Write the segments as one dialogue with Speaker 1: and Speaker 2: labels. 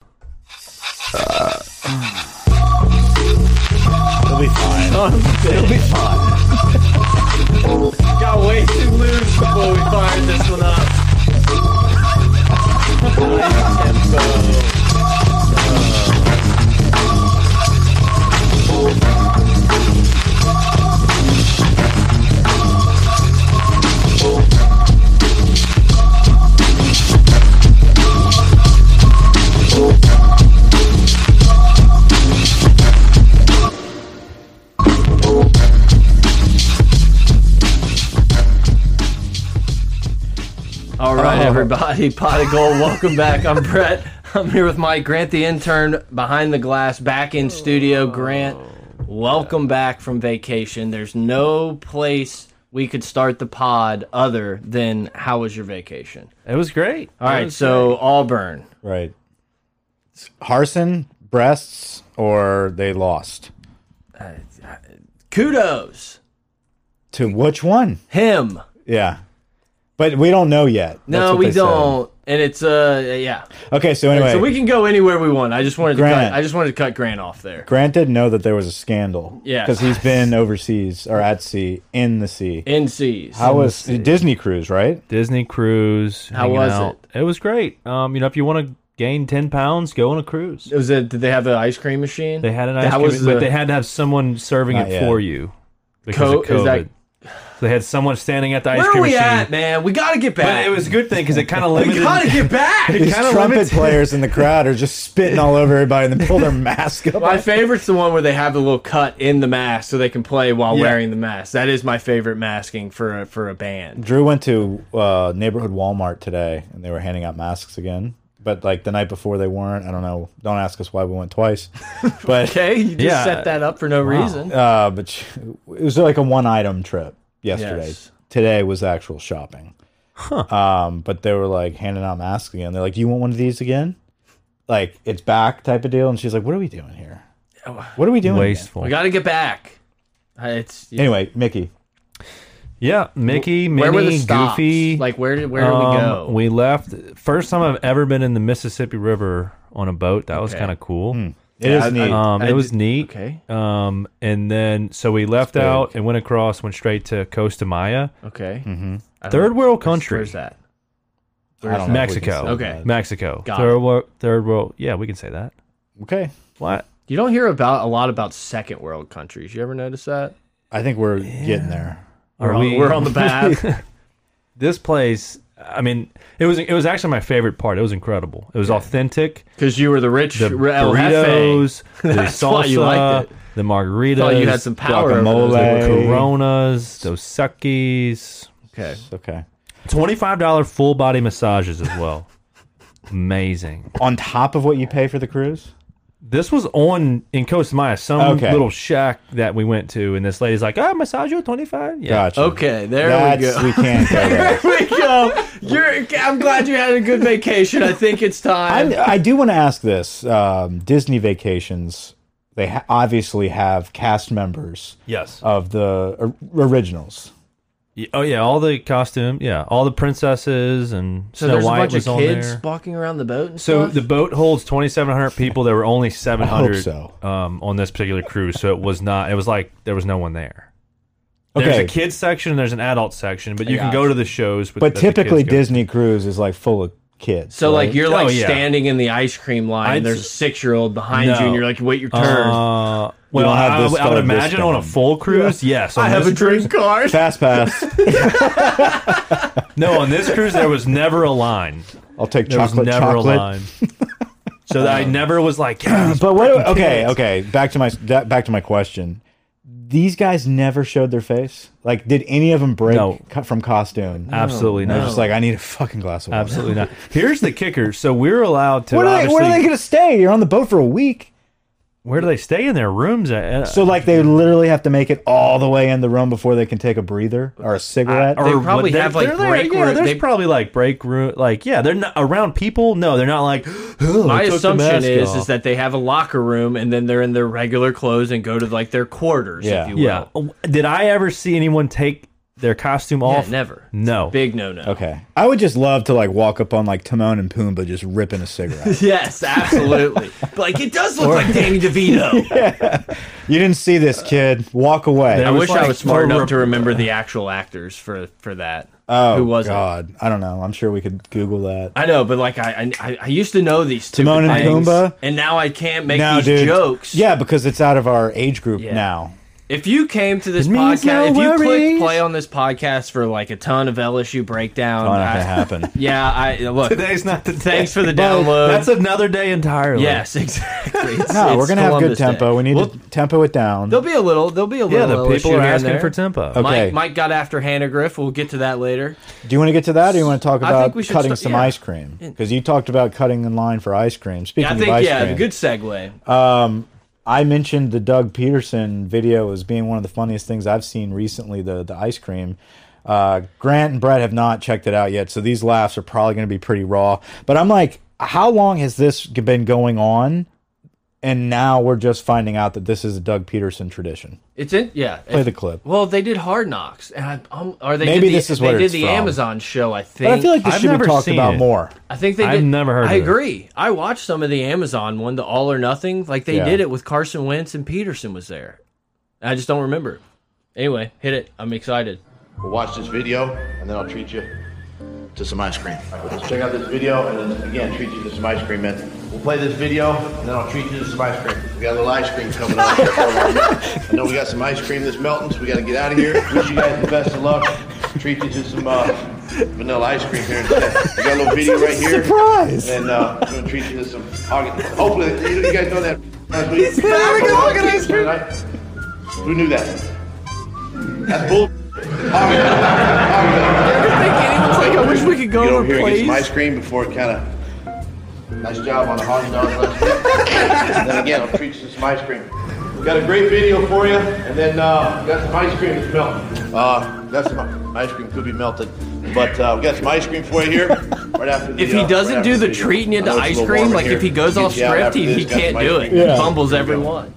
Speaker 1: It'll be fine.
Speaker 2: Got way too loose before we fired this one up. High tempo. All right,
Speaker 1: Oh.
Speaker 2: everybody, pot of gold. Welcome back. I'm Brett. I'm here with Mike Grant, the intern behind the glass, back in studio. Grant, welcome back from vacation. There's no place we could start the pod other than how was your vacation?
Speaker 3: It was great.
Speaker 2: All right, so Auburn.
Speaker 1: Right. Harson, breasts, or they lost?
Speaker 2: Kudos,
Speaker 1: To which one?
Speaker 2: him.
Speaker 1: Yeah. But we don't know yet. That's
Speaker 2: No,
Speaker 1: what
Speaker 2: we
Speaker 1: they said.
Speaker 2: don't. And it's uh yeah.
Speaker 1: Okay, so anyway,
Speaker 2: So we can go anywhere we want. I just wanted to
Speaker 1: Grant.
Speaker 2: cut, I just wanted to cut Grant off there.
Speaker 1: Grant didn't know that there was a scandal.
Speaker 2: Yeah.
Speaker 1: Because he's been overseas or at sea, in the sea.
Speaker 2: NCs.
Speaker 1: How was Disney cruise, right?
Speaker 3: Disney cruise.
Speaker 2: How
Speaker 3: hanging
Speaker 2: was
Speaker 3: out. It was great. Um, you know, if you want to gain ten pounds, go on a cruise.
Speaker 2: was it? Did they have the ice cream machine?
Speaker 3: They had an ice
Speaker 2: That
Speaker 3: cream,
Speaker 2: was
Speaker 3: but
Speaker 2: the-
Speaker 3: they had to have someone serving
Speaker 1: Not
Speaker 3: it
Speaker 1: yet.
Speaker 3: for you because of
Speaker 2: Co- is
Speaker 3: COVID.
Speaker 2: that-
Speaker 3: So they had someone standing at the ice
Speaker 2: Where are
Speaker 3: cream
Speaker 2: we
Speaker 3: machine.
Speaker 2: at, man? We gotta get
Speaker 3: But
Speaker 2: back.
Speaker 3: it was a good thing because it kind of
Speaker 2: we
Speaker 3: limited.
Speaker 2: gotta get back.
Speaker 1: These
Speaker 3: kinda
Speaker 1: trumpet
Speaker 3: limited-
Speaker 1: players in the crowd are just spitting all over everybody and then pull their mask up.
Speaker 2: my favorite's the one where they have the little cut in the mask so they can play while wearing the mask. That is my favorite masking for a, for a band.
Speaker 1: Drew went to uh, neighborhood Walmart today, and they were handing out masks again. But like the night before, they weren't. I don't know. Don't ask us why we went twice. But
Speaker 2: Okay, you just
Speaker 3: Yeah.
Speaker 2: set that up for no reason.
Speaker 1: uh, but sh- it was like a one item trip yesterday.
Speaker 2: Yes.
Speaker 1: Today was actual shopping. Um, but they were like handing out masks again. They're like, "Do you want one of these again?" Like it's back type of deal. And she's like, "What are we doing here? What are we doing?" again?"
Speaker 3: Wasteful.
Speaker 2: We gotta get back. Uh, It's
Speaker 1: Anyway, Mickey.
Speaker 3: Yeah, Mickey, Minnie,
Speaker 2: where were the stops?
Speaker 3: Goofy.
Speaker 2: Like where did where did we
Speaker 3: Um,
Speaker 2: go?
Speaker 3: We left. First time I've ever been in the Mississippi River on a boat. That was
Speaker 2: Okay. Hmm.
Speaker 3: kind of cool.
Speaker 1: It is
Speaker 2: I- I-
Speaker 1: neat.
Speaker 3: Um,
Speaker 2: I
Speaker 3: it was
Speaker 2: did-
Speaker 3: neat.
Speaker 2: okay.
Speaker 3: Um, and then so we left out and went across, went straight to Costa Maya,
Speaker 2: okay, I don't-
Speaker 3: Mm-hmm. third world country,
Speaker 2: Where's that?
Speaker 1: I don't know if we can
Speaker 3: Mexico.
Speaker 1: say
Speaker 2: Okay.
Speaker 1: that.
Speaker 3: Mexico,
Speaker 2: Got
Speaker 3: third
Speaker 2: it.
Speaker 3: world, third world. Yeah, we can say that.
Speaker 1: Okay.
Speaker 3: What?
Speaker 2: You don't hear about a lot about second world countries. You ever notice that?
Speaker 1: I think we're getting there.
Speaker 3: Are
Speaker 2: we're, on,
Speaker 3: we-
Speaker 2: we're on the path.
Speaker 3: This place. I mean, it was it was actually my favorite part. It was incredible. It was authentic.
Speaker 2: Because you were the rich
Speaker 3: The
Speaker 2: El Jefe.
Speaker 3: burritos, the
Speaker 2: That's
Speaker 3: salsa,
Speaker 2: why you liked it.
Speaker 3: the margaritas.
Speaker 2: Thought you had some power. over
Speaker 1: guacamole.
Speaker 2: those.
Speaker 3: the
Speaker 1: Hey.
Speaker 3: Coronas, those suckies.
Speaker 2: Okay.
Speaker 1: Okay.
Speaker 3: Twenty-five dollar full body massages as well. Amazing.
Speaker 1: on top of what you pay for the cruise?
Speaker 3: This was on in Costa Maya, some
Speaker 1: Okay.
Speaker 3: little shack that we went to, and this lady's like, "Ah, massage you twenty-five. Yeah,
Speaker 1: Gotcha.
Speaker 2: Okay. There we
Speaker 1: That's,
Speaker 2: go.
Speaker 1: we, can't go there.
Speaker 2: There we go. You're, I'm glad you had a good vacation. I think it's time.
Speaker 1: I, I do want to ask this. Um, Disney vacations, they ha obviously have cast members
Speaker 3: yes.
Speaker 1: of the or, originals.
Speaker 3: Y- oh yeah, all the costume. Yeah, all the princesses and
Speaker 2: so
Speaker 3: Snow
Speaker 2: there's a
Speaker 3: White
Speaker 2: bunch
Speaker 3: was
Speaker 2: of
Speaker 3: on
Speaker 2: kids
Speaker 3: there.
Speaker 2: walking around the boat. And
Speaker 3: So
Speaker 2: stuff?
Speaker 3: the boat holds 2,700 people. There were only 700
Speaker 1: so.
Speaker 3: um, on this particular cruise, so it was not. It was like there was no one there. There's
Speaker 1: Okay.
Speaker 3: a kids section and there's an adult section, but you
Speaker 2: Yeah.
Speaker 3: can go to the shows. With,
Speaker 1: But
Speaker 3: that the kids
Speaker 1: typically,
Speaker 3: go to.
Speaker 1: Disney cruise is like full of kids.
Speaker 2: So like
Speaker 1: right?
Speaker 2: you're like
Speaker 3: Oh, yeah.
Speaker 2: standing in the ice cream line.
Speaker 3: I'd-
Speaker 2: and there's a six year old behind you,
Speaker 3: No.
Speaker 2: and you're like, wait your turn.
Speaker 3: Uh,
Speaker 1: We
Speaker 3: well,
Speaker 1: don't have
Speaker 3: I,
Speaker 1: this
Speaker 3: I would
Speaker 1: done, this
Speaker 3: imagine on a
Speaker 1: done.
Speaker 3: full cruise, yes. On
Speaker 2: I have
Speaker 3: this
Speaker 2: a dream card.
Speaker 1: fast pass.
Speaker 3: cruise- No, on this cruise there was never a line.
Speaker 1: I'll take
Speaker 3: There
Speaker 1: chocolate.
Speaker 3: was never
Speaker 1: chocolate. Um,
Speaker 3: a line. So that I never was like, yeah,
Speaker 1: But what? Okay, okay. Back to my that, back to my question. These guys never showed their face. Like, did any of them break
Speaker 3: No.
Speaker 1: co- from costume?
Speaker 3: absolutely
Speaker 1: They're
Speaker 3: not.
Speaker 1: just like, I need a fucking glass of water.
Speaker 3: Absolutely not. Here's the kicker. So we're allowed to.
Speaker 1: Where are, they,
Speaker 3: obviously,
Speaker 1: where are they going to stay? You're on the boat for a week.
Speaker 3: where do they stay in their rooms? At, uh,
Speaker 1: So, like, they literally have to make it all the way in the room before they can take a breather or a cigarette.
Speaker 3: or
Speaker 2: They probably
Speaker 3: what- they're-
Speaker 2: have, like,
Speaker 3: they're there-
Speaker 2: break
Speaker 3: Yeah,
Speaker 2: room-
Speaker 3: there's
Speaker 2: they-
Speaker 3: probably like break room. Like yeah, they're not around people. No, they're not like. "Oh, I
Speaker 2: My
Speaker 3: took the
Speaker 2: assumption
Speaker 3: mask
Speaker 2: is
Speaker 3: off."
Speaker 2: is that they have a locker room and then they're in their regular clothes and go to like their quarters,
Speaker 1: Yeah.
Speaker 3: Oh,
Speaker 2: if you will.
Speaker 3: yeah. Did I ever see anyone take their costume off?
Speaker 2: never.
Speaker 3: No.
Speaker 2: Big no no.
Speaker 1: Okay. I would just love to like walk up on like Timon and Pumbaa just ripping a cigarette.
Speaker 2: Yes, absolutely. But, like it does look like Danny DeVito.
Speaker 1: you didn't see this kid. Walk away.
Speaker 2: I
Speaker 3: was
Speaker 2: wish I
Speaker 3: like
Speaker 2: was smart
Speaker 3: over-
Speaker 2: enough to remember the actual actors for for that.
Speaker 1: oh
Speaker 2: who was it?
Speaker 1: God. I don't know. I'm sure we could Google that.
Speaker 2: I know, but like I I, I used to know these two
Speaker 1: Timon and
Speaker 2: things,
Speaker 1: Pumbaa?
Speaker 2: and now I can't make
Speaker 1: now,
Speaker 2: these
Speaker 1: dude.
Speaker 2: jokes.
Speaker 1: Yeah, because it's out of our age group
Speaker 2: Yeah.
Speaker 1: now.
Speaker 2: If you came to this
Speaker 1: It means
Speaker 2: podcast, if
Speaker 1: no
Speaker 2: you clicked
Speaker 1: worries.
Speaker 2: play on this podcast for like a ton of LSU breakdown,
Speaker 1: Oh, not
Speaker 2: I-
Speaker 1: gonna happen.
Speaker 2: yeah, I look.
Speaker 3: Today's not the day.
Speaker 2: Thanks for the
Speaker 3: Well,
Speaker 2: download.
Speaker 3: That's another day entirely.
Speaker 2: yes, exactly. It's-
Speaker 1: No, we're
Speaker 2: it's
Speaker 1: gonna have good
Speaker 2: Columbus Day.
Speaker 1: tempo. We need
Speaker 2: We'll-
Speaker 1: to tempo it down.
Speaker 2: There'll be a little. There'll be a
Speaker 3: Yeah,
Speaker 2: little.
Speaker 3: the people
Speaker 2: LSU here
Speaker 3: are
Speaker 2: and
Speaker 3: asking
Speaker 2: there.
Speaker 3: for tempo.
Speaker 1: Okay.
Speaker 2: Mike, Mike got after Hannah Griff. We'll get to that later.
Speaker 1: Do you want to get to that, or you want to talk
Speaker 2: I think
Speaker 1: about
Speaker 2: we should
Speaker 1: cutting
Speaker 2: start-
Speaker 1: some
Speaker 2: yeah.
Speaker 1: ice cream? Because you talked about cutting in line for ice cream. Speaking
Speaker 2: Yeah, I
Speaker 1: of
Speaker 2: think
Speaker 1: ice
Speaker 2: yeah,
Speaker 1: cream, Uh,
Speaker 2: good segue.
Speaker 1: I mentioned the Doug Peterson video as being one of the funniest things I've seen recently. The the ice cream. Uh, Grant and Brett have not checked it out yet, so these laughs are probably going to be pretty raw. But I'm like, how long has this been going on? And now we're just finding out that this is a Doug Peterson tradition.
Speaker 2: It's in yeah.
Speaker 1: Play the clip.
Speaker 2: Well, they did Hard Knocks, and I, um, or they
Speaker 1: Maybe
Speaker 2: did the,
Speaker 1: this is
Speaker 2: they
Speaker 1: where
Speaker 2: did
Speaker 1: it's
Speaker 2: the
Speaker 1: from.
Speaker 2: Amazon show. I think.
Speaker 1: But I feel like this
Speaker 3: I've
Speaker 1: should
Speaker 3: never
Speaker 1: be talked
Speaker 3: seen
Speaker 1: about
Speaker 3: it.
Speaker 1: more.
Speaker 2: I think they.
Speaker 3: I've
Speaker 2: did,
Speaker 3: never heard
Speaker 2: I
Speaker 3: of it.
Speaker 2: agree. I watched some of the Amazon one, the All or Nothing. Like they
Speaker 1: Yeah.
Speaker 2: did it with Carson Wentz and Peterson was there. I just don't remember. Anyway, hit it. I'm excited.
Speaker 4: We'll watch this video and then I'll treat you to some ice cream. Check out this video and then again treat you to some ice cream, man. We'll play this video and then I'll treat you to some ice cream. We got a little ice cream coming up. I know we got some ice cream that's melting, so we got to get out of here. Wish you guys the best of luck. Treat you to some uh, vanilla ice cream here instead. We got a little video right here.
Speaker 1: Surprise!
Speaker 4: And uh, we're gonna treat you to some. Hopefully, you you guys know that. He's ice cream. Who knew that? That's bull.
Speaker 2: like, I wish we could go
Speaker 4: Get over
Speaker 2: over
Speaker 4: here and get some
Speaker 2: plays.
Speaker 4: ice cream before it kind of. Nice job on the hot dog. last week. and then again, I'll treat you to some ice cream. We got a great video for you, and then uh, we got some ice cream that's melting. Uh, we got some ice cream could be melted, but uh, we got some ice cream for you here. Right after the,
Speaker 2: If he
Speaker 4: uh,
Speaker 2: doesn't
Speaker 4: right after
Speaker 2: do the
Speaker 4: video.
Speaker 2: treating you
Speaker 4: I
Speaker 2: to
Speaker 4: know it's a
Speaker 2: ice
Speaker 4: little
Speaker 2: cream,
Speaker 4: warmer
Speaker 2: like
Speaker 4: here.
Speaker 2: if he goes
Speaker 4: Get
Speaker 2: off
Speaker 4: you out
Speaker 2: script,
Speaker 4: after
Speaker 2: he,
Speaker 4: this,
Speaker 2: he
Speaker 4: got some
Speaker 2: can't
Speaker 4: ice
Speaker 2: do it.
Speaker 4: cream.
Speaker 2: He
Speaker 1: Yeah.
Speaker 2: fumbles every
Speaker 4: Wow.
Speaker 2: one.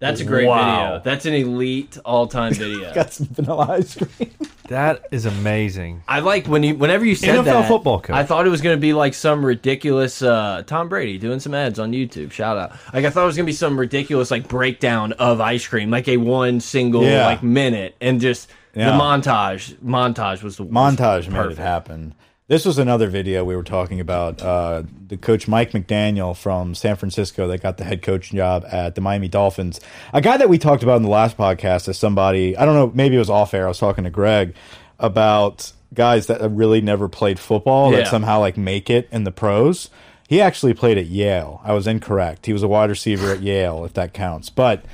Speaker 2: That's a great
Speaker 3: Wow.
Speaker 2: video. That's an elite all-time video.
Speaker 1: Got some vanilla ice cream.
Speaker 3: That is amazing.
Speaker 2: I like when you whenever you said
Speaker 3: NFL
Speaker 2: that
Speaker 3: football coach.
Speaker 2: I thought it was going to be like some ridiculous uh, Tom Brady doing some ads on YouTube. Shout out! Like I thought it was going to be some ridiculous like breakdown of ice cream, like a one single
Speaker 1: Yeah.
Speaker 2: like minute, and just the
Speaker 1: Yeah.
Speaker 2: montage. Montage was the
Speaker 1: montage made
Speaker 2: perfect.
Speaker 1: it happen. This was another video we were talking about. Uh, the coach Mike McDaniel from San Francisco that got the head coaching job at the Miami Dolphins. A guy that we talked about in the last podcast as somebody, I don't know, maybe it was off air. I was talking to Greg about guys that really never played football
Speaker 2: Yeah.
Speaker 1: that somehow like make it in the pros. He actually played at Yale. I was incorrect. He was a wide receiver at Yale, if that counts. But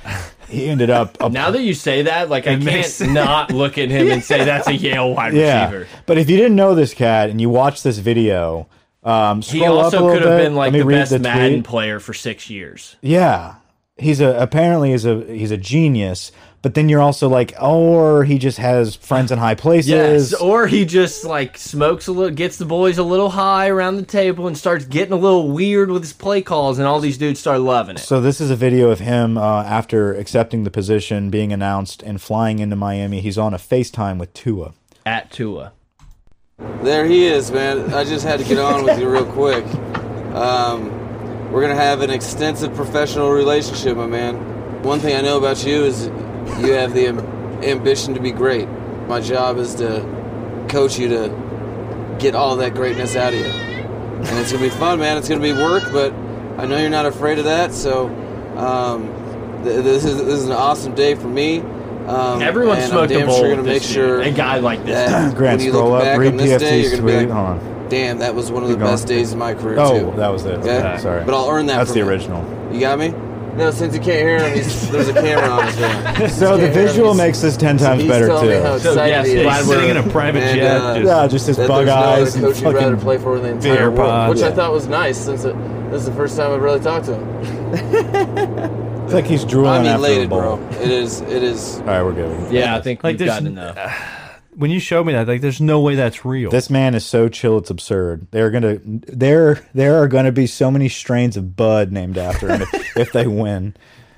Speaker 1: he ended up a
Speaker 2: Now that you say that, like I can't
Speaker 3: makes sense.
Speaker 2: not look at him and say that's a Yale wide receiver.
Speaker 1: But if you didn't know this cat and you watched this video, um,
Speaker 2: He
Speaker 1: scroll up a
Speaker 2: also
Speaker 1: little
Speaker 2: could have
Speaker 1: bit.
Speaker 2: been
Speaker 1: Let
Speaker 2: like
Speaker 1: me
Speaker 2: the
Speaker 1: read
Speaker 2: best
Speaker 1: the
Speaker 2: Madden
Speaker 1: tweet.
Speaker 2: player for six years.
Speaker 1: Yeah, he's a apparently is a he's a genius. But then you're also like, or he just has friends in high places.
Speaker 2: Yes, or he just like smokes a little, gets the boys a little high around the table, and starts getting a little weird with his play calls, and all these dudes start loving it.
Speaker 1: so this is a video of him uh, after accepting the position, being announced, and flying into Miami. He's on a FaceTime with Tua.
Speaker 2: At Tua,
Speaker 5: There he is, man. I just had to get on with you real quick. Um, we're gonna have an extensive professional relationship, my man. One thing I know about you is you have the am- ambition to be great. My job is to coach you to get all that greatness out of you, and it's gonna be fun, man. It's gonna be work, but I know you're not afraid of that. So um, th- this is this is an awesome day for me. Um,
Speaker 2: everyone
Speaker 5: and
Speaker 2: smoked
Speaker 5: I'm damn
Speaker 2: a bowl.
Speaker 5: sure
Speaker 2: with
Speaker 5: gonna make
Speaker 2: this dude.
Speaker 5: sure
Speaker 2: a guy like this.
Speaker 5: that
Speaker 1: Grant,
Speaker 5: when you
Speaker 1: scroll
Speaker 5: look
Speaker 1: up,
Speaker 5: back
Speaker 1: read
Speaker 5: on this day,
Speaker 1: PFT's
Speaker 5: you're gonna
Speaker 1: tweet.
Speaker 5: be
Speaker 1: Hold
Speaker 5: like,
Speaker 1: on.
Speaker 5: damn, that was one of the
Speaker 1: Keep going.
Speaker 5: best days of my career
Speaker 1: Oh,
Speaker 5: too.
Speaker 1: that was it.
Speaker 5: Okay.
Speaker 1: Okay, Sorry,
Speaker 5: But I'll earn that
Speaker 1: That's
Speaker 5: from
Speaker 1: the
Speaker 5: you.
Speaker 1: original.
Speaker 5: You got me? No, since you can't hear him, he's, there's a camera on his phone.
Speaker 1: So the
Speaker 5: Yeah,
Speaker 1: visual
Speaker 5: he's-
Speaker 1: makes this ten times
Speaker 5: he's
Speaker 1: better
Speaker 5: telling me how
Speaker 1: too.
Speaker 5: excited
Speaker 2: yes,
Speaker 5: he is.
Speaker 2: he's
Speaker 3: Glad we're sitting in a private
Speaker 5: And,
Speaker 3: jet.
Speaker 5: uh,
Speaker 3: just-
Speaker 1: Yeah, just his
Speaker 5: that
Speaker 1: bug
Speaker 5: there's no other
Speaker 1: eyes and
Speaker 5: coach you'd rather
Speaker 1: fucking
Speaker 5: play for in the
Speaker 1: beer
Speaker 5: entire world,
Speaker 3: pods.
Speaker 5: which
Speaker 1: Yeah.
Speaker 5: I thought was nice since it, this is the first time I've really talked to him.
Speaker 1: It's like he's drooling
Speaker 5: I'm
Speaker 1: after the
Speaker 5: elated,
Speaker 1: bowl.
Speaker 5: bro. It is, it is.
Speaker 1: All right, we're good.
Speaker 2: yeah, I think
Speaker 3: Like,
Speaker 2: we've
Speaker 3: there's-
Speaker 2: gotten enough.
Speaker 3: When you showed me that, like, there's no way that's real.
Speaker 1: This man is so chill, it's absurd. They're gonna there there are gonna be so many strains of bud named after him if, if they win.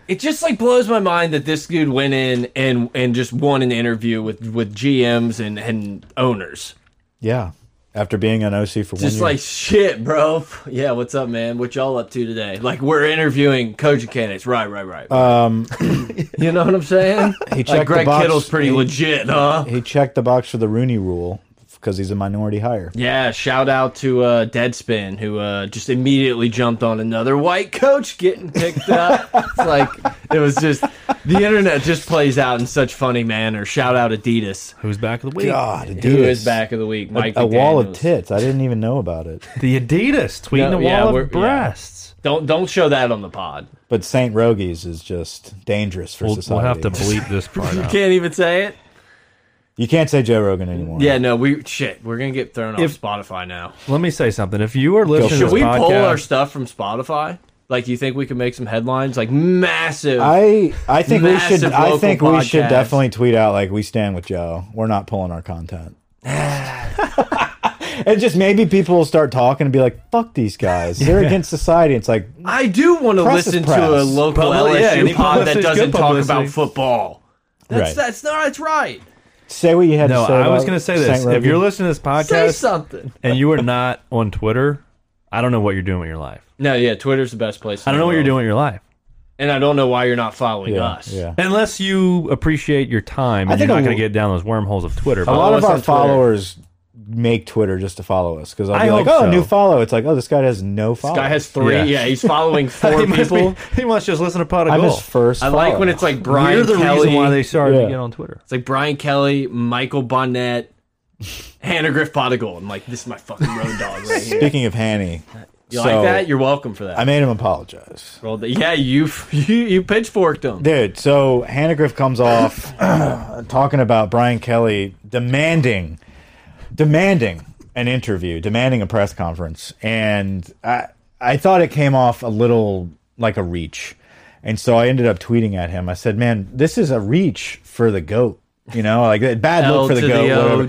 Speaker 2: It just like blows my mind that this dude went in and and just won an interview with with GMs and and owners.
Speaker 1: Yeah. After being on OC for
Speaker 2: Just
Speaker 1: one year.
Speaker 2: like shit, bro. Yeah, what's up, man? What y'all up to today? Like we're interviewing coaching candidates. Right, right, right.
Speaker 1: um,
Speaker 2: you know what I'm saying?
Speaker 1: he checked the
Speaker 2: like Greg
Speaker 1: box-
Speaker 2: Kittle's pretty
Speaker 1: he-
Speaker 2: legit, huh?
Speaker 1: he checked the box for the Rooney rule because he's a minority hire.
Speaker 2: Yeah, shout out to uh, Deadspin who uh, just immediately jumped on another white coach getting picked up. it's like it was just the internet just plays out in such funny manner. Shout out Adidas,
Speaker 3: Who's back of the week?
Speaker 1: God,
Speaker 2: who
Speaker 1: Adidas.
Speaker 2: is back of the week. Mike
Speaker 1: A wall of
Speaker 2: McDaniels.
Speaker 1: tits. I didn't even know about it.
Speaker 3: The Adidas tweeting
Speaker 2: No,
Speaker 3: a
Speaker 2: yeah,
Speaker 3: wall
Speaker 2: we're-
Speaker 3: of
Speaker 2: yeah.
Speaker 3: breasts.
Speaker 2: Don't don't show that on the pod.
Speaker 1: But St. Rogies is just dangerous for
Speaker 3: We'll, we'll
Speaker 1: society.
Speaker 3: have to bleep this part out.
Speaker 2: Can't even say it.
Speaker 1: You can't say Joe Rogan anymore.
Speaker 2: Yeah, no, we shit. We're gonna get thrown
Speaker 3: If-
Speaker 2: off Spotify now.
Speaker 3: Let me say something. If you are listening to
Speaker 2: Should
Speaker 3: this
Speaker 2: we
Speaker 3: podcast,
Speaker 2: pull our stuff from Spotify? Like, you think we could make some headlines? Like massive.
Speaker 1: I I think we
Speaker 2: Massive
Speaker 1: should I
Speaker 2: local
Speaker 1: think we should
Speaker 2: podcast.
Speaker 1: definitely tweet out like we stand with Joe. We're not pulling our content. and just maybe people will start talking and be like, "Fuck these guys! They're against society." It's like,
Speaker 2: I do want to
Speaker 1: Press is
Speaker 2: listen
Speaker 1: press.
Speaker 2: to a local
Speaker 3: Publi- yeah,
Speaker 2: LSU
Speaker 3: any
Speaker 2: pod that
Speaker 3: publicity's
Speaker 2: doesn't
Speaker 3: good
Speaker 2: talk
Speaker 3: publicity.
Speaker 2: about football. That's
Speaker 1: Right.
Speaker 2: that's no, that's right.
Speaker 1: say what you had
Speaker 3: no,
Speaker 1: to say.
Speaker 3: I was
Speaker 1: about
Speaker 3: going to say this.
Speaker 1: Saint
Speaker 3: If you're
Speaker 1: Rogan.
Speaker 3: listening to this
Speaker 2: Say
Speaker 3: podcast
Speaker 2: something.
Speaker 3: and you are not on Twitter, I don't know what you're doing with your life.
Speaker 2: No, yeah, Twitter's the best place.
Speaker 3: I don't know what you're doing with your life.
Speaker 2: and I don't know why you're not following
Speaker 1: yeah,
Speaker 2: us.
Speaker 1: yeah.
Speaker 3: Unless you appreciate your time, and
Speaker 1: think
Speaker 3: you're not
Speaker 1: a-
Speaker 3: going to get down those wormholes of Twitter.
Speaker 1: a
Speaker 3: but-
Speaker 1: lot
Speaker 2: Follow us
Speaker 1: of
Speaker 2: on
Speaker 1: our
Speaker 2: Twitter.
Speaker 1: followers make Twitter just to follow us because I'll be
Speaker 3: I
Speaker 1: like,
Speaker 3: hope
Speaker 1: "Oh,
Speaker 3: so.
Speaker 1: new follow." It's like, "Oh, this guy has no followers."
Speaker 2: Guy has three. Yeah,
Speaker 3: Yeah.
Speaker 2: he's following four
Speaker 3: he, must
Speaker 2: people.
Speaker 3: be- he must just listen to Pot of
Speaker 1: I'm his
Speaker 3: Gold.
Speaker 1: first.
Speaker 2: I like when
Speaker 1: follower.
Speaker 2: it's like Brian
Speaker 3: You're the
Speaker 2: Kelly.
Speaker 3: reason why they started
Speaker 1: Yeah.
Speaker 3: to get on Twitter.
Speaker 2: It's like Brian Kelly, Michael Bonnet, Hannah Griff Potigal. I'm like, this is my fucking road dog right here.
Speaker 1: Speaking of Hanny,
Speaker 2: You
Speaker 1: so
Speaker 2: like that? You're welcome for that.
Speaker 1: I made him apologize.
Speaker 2: Well, th- yeah, you you you pitchforked him.
Speaker 1: Dude, so Hannah Griff comes off uh, talking about Brian Kelly demanding, demanding an interview, demanding a press conference, and I I thought it came off a little like a reach, and so I ended up tweeting at him. I said, "Man, this is a reach for the goat, you know, like a bad
Speaker 2: L
Speaker 1: look for the
Speaker 2: to
Speaker 1: goat,
Speaker 2: the
Speaker 1: whatever.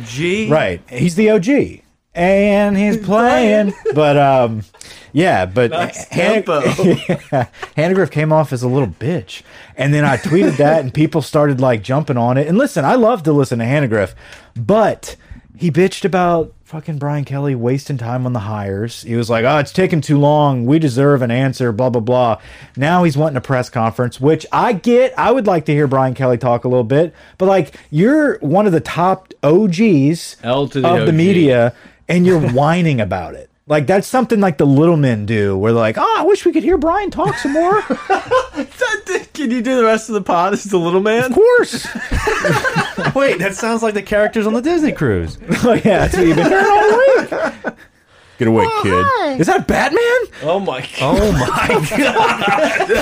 Speaker 2: OG.
Speaker 1: right? He's the OG." And he's playing, but um, yeah, but Hannah-
Speaker 2: tempo.
Speaker 1: yeah. Handegriff came off as a little bitch. And then I tweeted that and people started like jumping on it. And listen, I love to listen to Handegriff, but he bitched about fucking Brian Kelly wasting time on the hires. He was like, oh, it's taking too long. We deserve an answer, blah, blah, blah. Now he's wanting a press conference, which I get. I would like to hear Brian Kelly talk a little bit, but like you're one of the top OGs
Speaker 2: L to the
Speaker 1: of the
Speaker 2: OG.
Speaker 1: media media and you're whining about it. Like that's something like the little men do, where they're like, "Oh, I wish we could hear Brian talk some more." of
Speaker 2: Can you do the rest of the pod as the little man?
Speaker 1: course,
Speaker 3: Wait, that sounds like the characters on the Disney cruise.
Speaker 1: oh, yeah, that's what you've been hearing all week. Get away, kid! Is that Batman?
Speaker 2: Oh my god!
Speaker 3: Oh my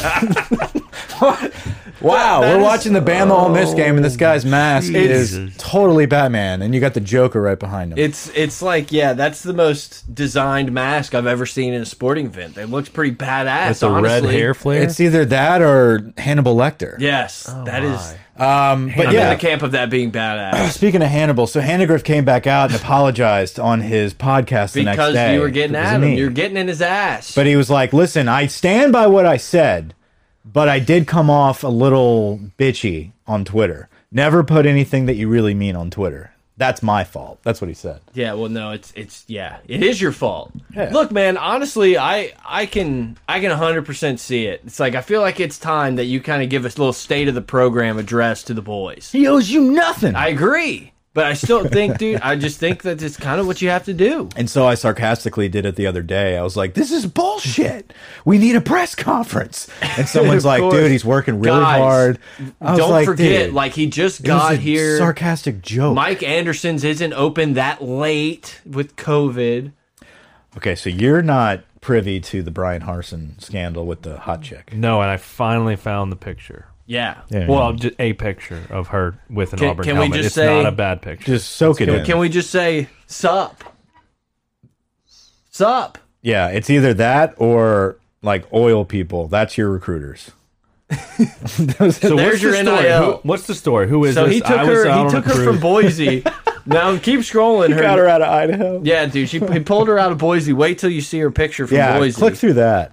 Speaker 1: Wow,
Speaker 2: that
Speaker 1: we're
Speaker 2: is-
Speaker 1: watching the Bama Ole Miss game, and this guy's mask
Speaker 3: Jesus.
Speaker 1: is totally Batman, and you got the Joker right behind him.
Speaker 2: It's it's like yeah, that's the most designed mask I've ever seen in a sporting event. It looks pretty badass.
Speaker 3: With the red
Speaker 2: honestly.
Speaker 3: hair flare.
Speaker 1: it's either that or Hannibal Lecter.
Speaker 2: Yes, that is.
Speaker 1: Um, Oh but
Speaker 2: I'm
Speaker 1: yeah,
Speaker 2: in the camp of that being badass
Speaker 1: speaking of Hannibal, so Hannegriff came back out and apologized on his podcast the next
Speaker 2: because
Speaker 1: day
Speaker 2: you were getting
Speaker 1: because
Speaker 2: at
Speaker 1: of
Speaker 2: him.
Speaker 1: me.
Speaker 2: You're getting in his ass.
Speaker 1: But he was like, listen, I stand by what I said, but I did come off a little bitchy on Twitter. Never put anything that you really mean on Twitter. That's my fault. That's what he said.
Speaker 2: Yeah, well, no, it's it's yeah, it is your fault.
Speaker 1: Yeah.
Speaker 2: Look, man, honestly, I I can I can 100 percent see it. It's like I feel like it's time that you kind of give a little state of the program address to the boys.
Speaker 1: He owes you nothing.
Speaker 2: I agree, but I still think, dude, I just think that it's kind of what you have to do.
Speaker 1: and so I sarcastically did it the other day. I was like, this is bullshit. We need a press conference. And someone's like,
Speaker 2: course.
Speaker 1: dude, he's working really
Speaker 2: Guys,
Speaker 1: hard. I was
Speaker 2: Don't
Speaker 1: like,
Speaker 2: forget,
Speaker 1: dude,
Speaker 2: like he just
Speaker 1: it was
Speaker 2: got
Speaker 1: a
Speaker 2: here.
Speaker 1: Sarcastic joke.
Speaker 2: Mike Anderson's isn't open that late with COVID.
Speaker 1: okay, so you're not privy to the Brian Harson scandal with the hot chick.
Speaker 3: no, and I finally found the picture.
Speaker 2: Yeah.
Speaker 1: Yeah.
Speaker 3: Well, just a picture of her with an
Speaker 2: Can-
Speaker 3: Auburn
Speaker 2: can we
Speaker 3: helmet.
Speaker 2: just
Speaker 3: it's
Speaker 2: say-
Speaker 3: not a bad picture.
Speaker 1: Just soak it in.
Speaker 2: Can we just say sup? Sup?
Speaker 1: Yeah, it's either that or like oil people. That's your recruiters.
Speaker 3: so
Speaker 2: there's
Speaker 3: what's the
Speaker 2: your
Speaker 3: story?
Speaker 2: NIL.
Speaker 3: Who- what's the story? Who is
Speaker 2: So
Speaker 3: this?
Speaker 2: he took
Speaker 3: I was
Speaker 2: her.
Speaker 3: out
Speaker 2: He
Speaker 3: on a
Speaker 2: took her
Speaker 3: cruise.
Speaker 2: from Boise Now keep scrolling. Her,
Speaker 1: Got her out of Idaho.
Speaker 2: Yeah, dude, she he pulled her out of Boise. Wait till you see her picture from
Speaker 1: Yeah,
Speaker 2: Boise.
Speaker 1: click through that.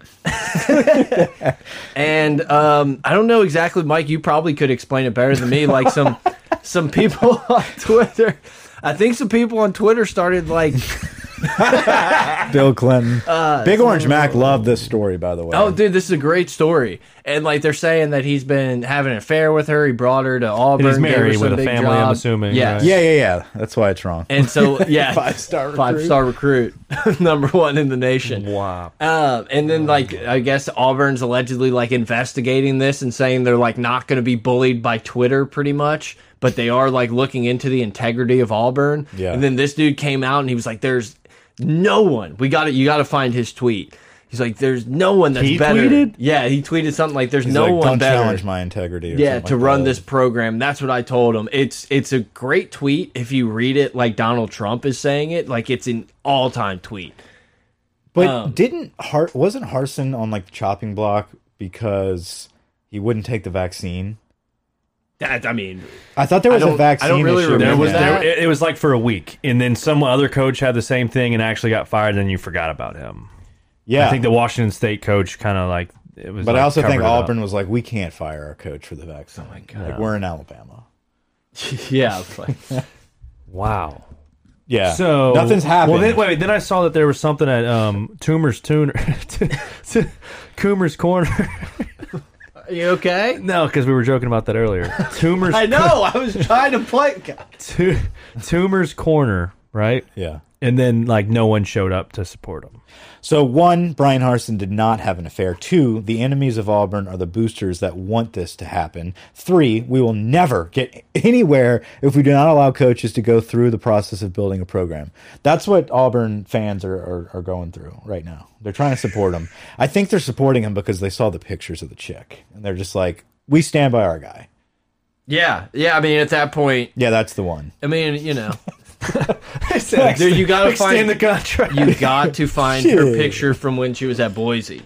Speaker 2: And um, I don't know exactly, Mike. You probably could explain it better than me. Like some some people on Twitter. I think some people on Twitter started like,
Speaker 1: Bill Clinton. Big Orange Mac loved this story, by the way.
Speaker 2: Uh, "Oh, dude, this is a great story," and like they're saying that he's been having an affair with her. He brought her to Auburn. gave her
Speaker 3: married
Speaker 2: some
Speaker 3: with a
Speaker 2: big
Speaker 3: family, I'm
Speaker 2: job.
Speaker 3: assuming,
Speaker 2: Yeah,
Speaker 3: right?
Speaker 1: yeah, yeah, yeah. That's why it's wrong.
Speaker 2: And so, yeah,
Speaker 1: Five star recruit.
Speaker 2: five star recruit, number one in the nation.
Speaker 3: Wow.
Speaker 2: Um, and then, like, I guess Auburn's allegedly like investigating this and saying they're like not going to be bullied by Twitter, pretty much. But they are like looking into the integrity of Auburn.
Speaker 1: Yeah.
Speaker 2: And then this dude came out and he was like, "There's no one. We got to You got to find his tweet." He's like, "There's no one that's
Speaker 1: He
Speaker 2: better."
Speaker 1: tweeted?
Speaker 2: Yeah, he tweeted something like, "There's
Speaker 1: He's
Speaker 2: no
Speaker 1: like,
Speaker 2: one
Speaker 1: don't
Speaker 2: better."
Speaker 1: challenge my integrity. Or
Speaker 2: yeah
Speaker 1: something
Speaker 2: to
Speaker 1: like
Speaker 2: run
Speaker 1: that.
Speaker 2: this program that's what i told him it's it's a great tweet if you read it like donald trump is saying it like it's an all-time tweet
Speaker 1: But
Speaker 2: um,
Speaker 1: didn't Hart wasn't Harson on like the chopping block because he wouldn't take the vaccine?
Speaker 2: that i mean
Speaker 1: I thought there was a
Speaker 2: don't- I
Speaker 1: vaccine.
Speaker 2: don't really
Speaker 1: issue with
Speaker 3: There
Speaker 2: remember
Speaker 3: was
Speaker 1: that.
Speaker 3: there, it, it was like for a week, and then some other coach had the same thing and actually got fired. And then you forgot about him.
Speaker 1: Yeah,
Speaker 3: I think the Washington State coach kind of like it was.
Speaker 1: but
Speaker 3: like
Speaker 1: I also think
Speaker 3: covered it up.
Speaker 1: Auburn was like, we can't fire our coach for the vaccine. Oh my god, like, we're in Alabama.
Speaker 2: yeah it's like-
Speaker 3: Wow.
Speaker 1: Yeah,
Speaker 3: So
Speaker 1: nothing's happened.
Speaker 3: Well, then, wait, then I saw that there was something at um, Toomer's Tuner, Coomer's Corner.
Speaker 2: are you okay
Speaker 3: no, because we were joking about that earlier. Toomer's
Speaker 2: i know i was trying to play God.
Speaker 3: Tu- Toomer's Corner, right?
Speaker 1: yeah.
Speaker 3: And then like no one showed up to support him.
Speaker 1: So one, Brian Harson did not have an affair. Two, the enemies of Auburn are the boosters that want this to happen. Three, we will never get anywhere if we do not allow coaches to go through the process of building a program. That's what Auburn fans are, are, are going through right now. They're trying to support him. I think they're supporting him because they saw the pictures of the chick and they're just like, we stand by our guy.
Speaker 2: yeah yeah i mean at that point
Speaker 1: Yeah, that's the one.
Speaker 2: i mean you know
Speaker 3: Dude,
Speaker 2: you gotta find-
Speaker 3: the contract.
Speaker 2: you got to find her
Speaker 1: Shit.
Speaker 2: picture from when she was at boise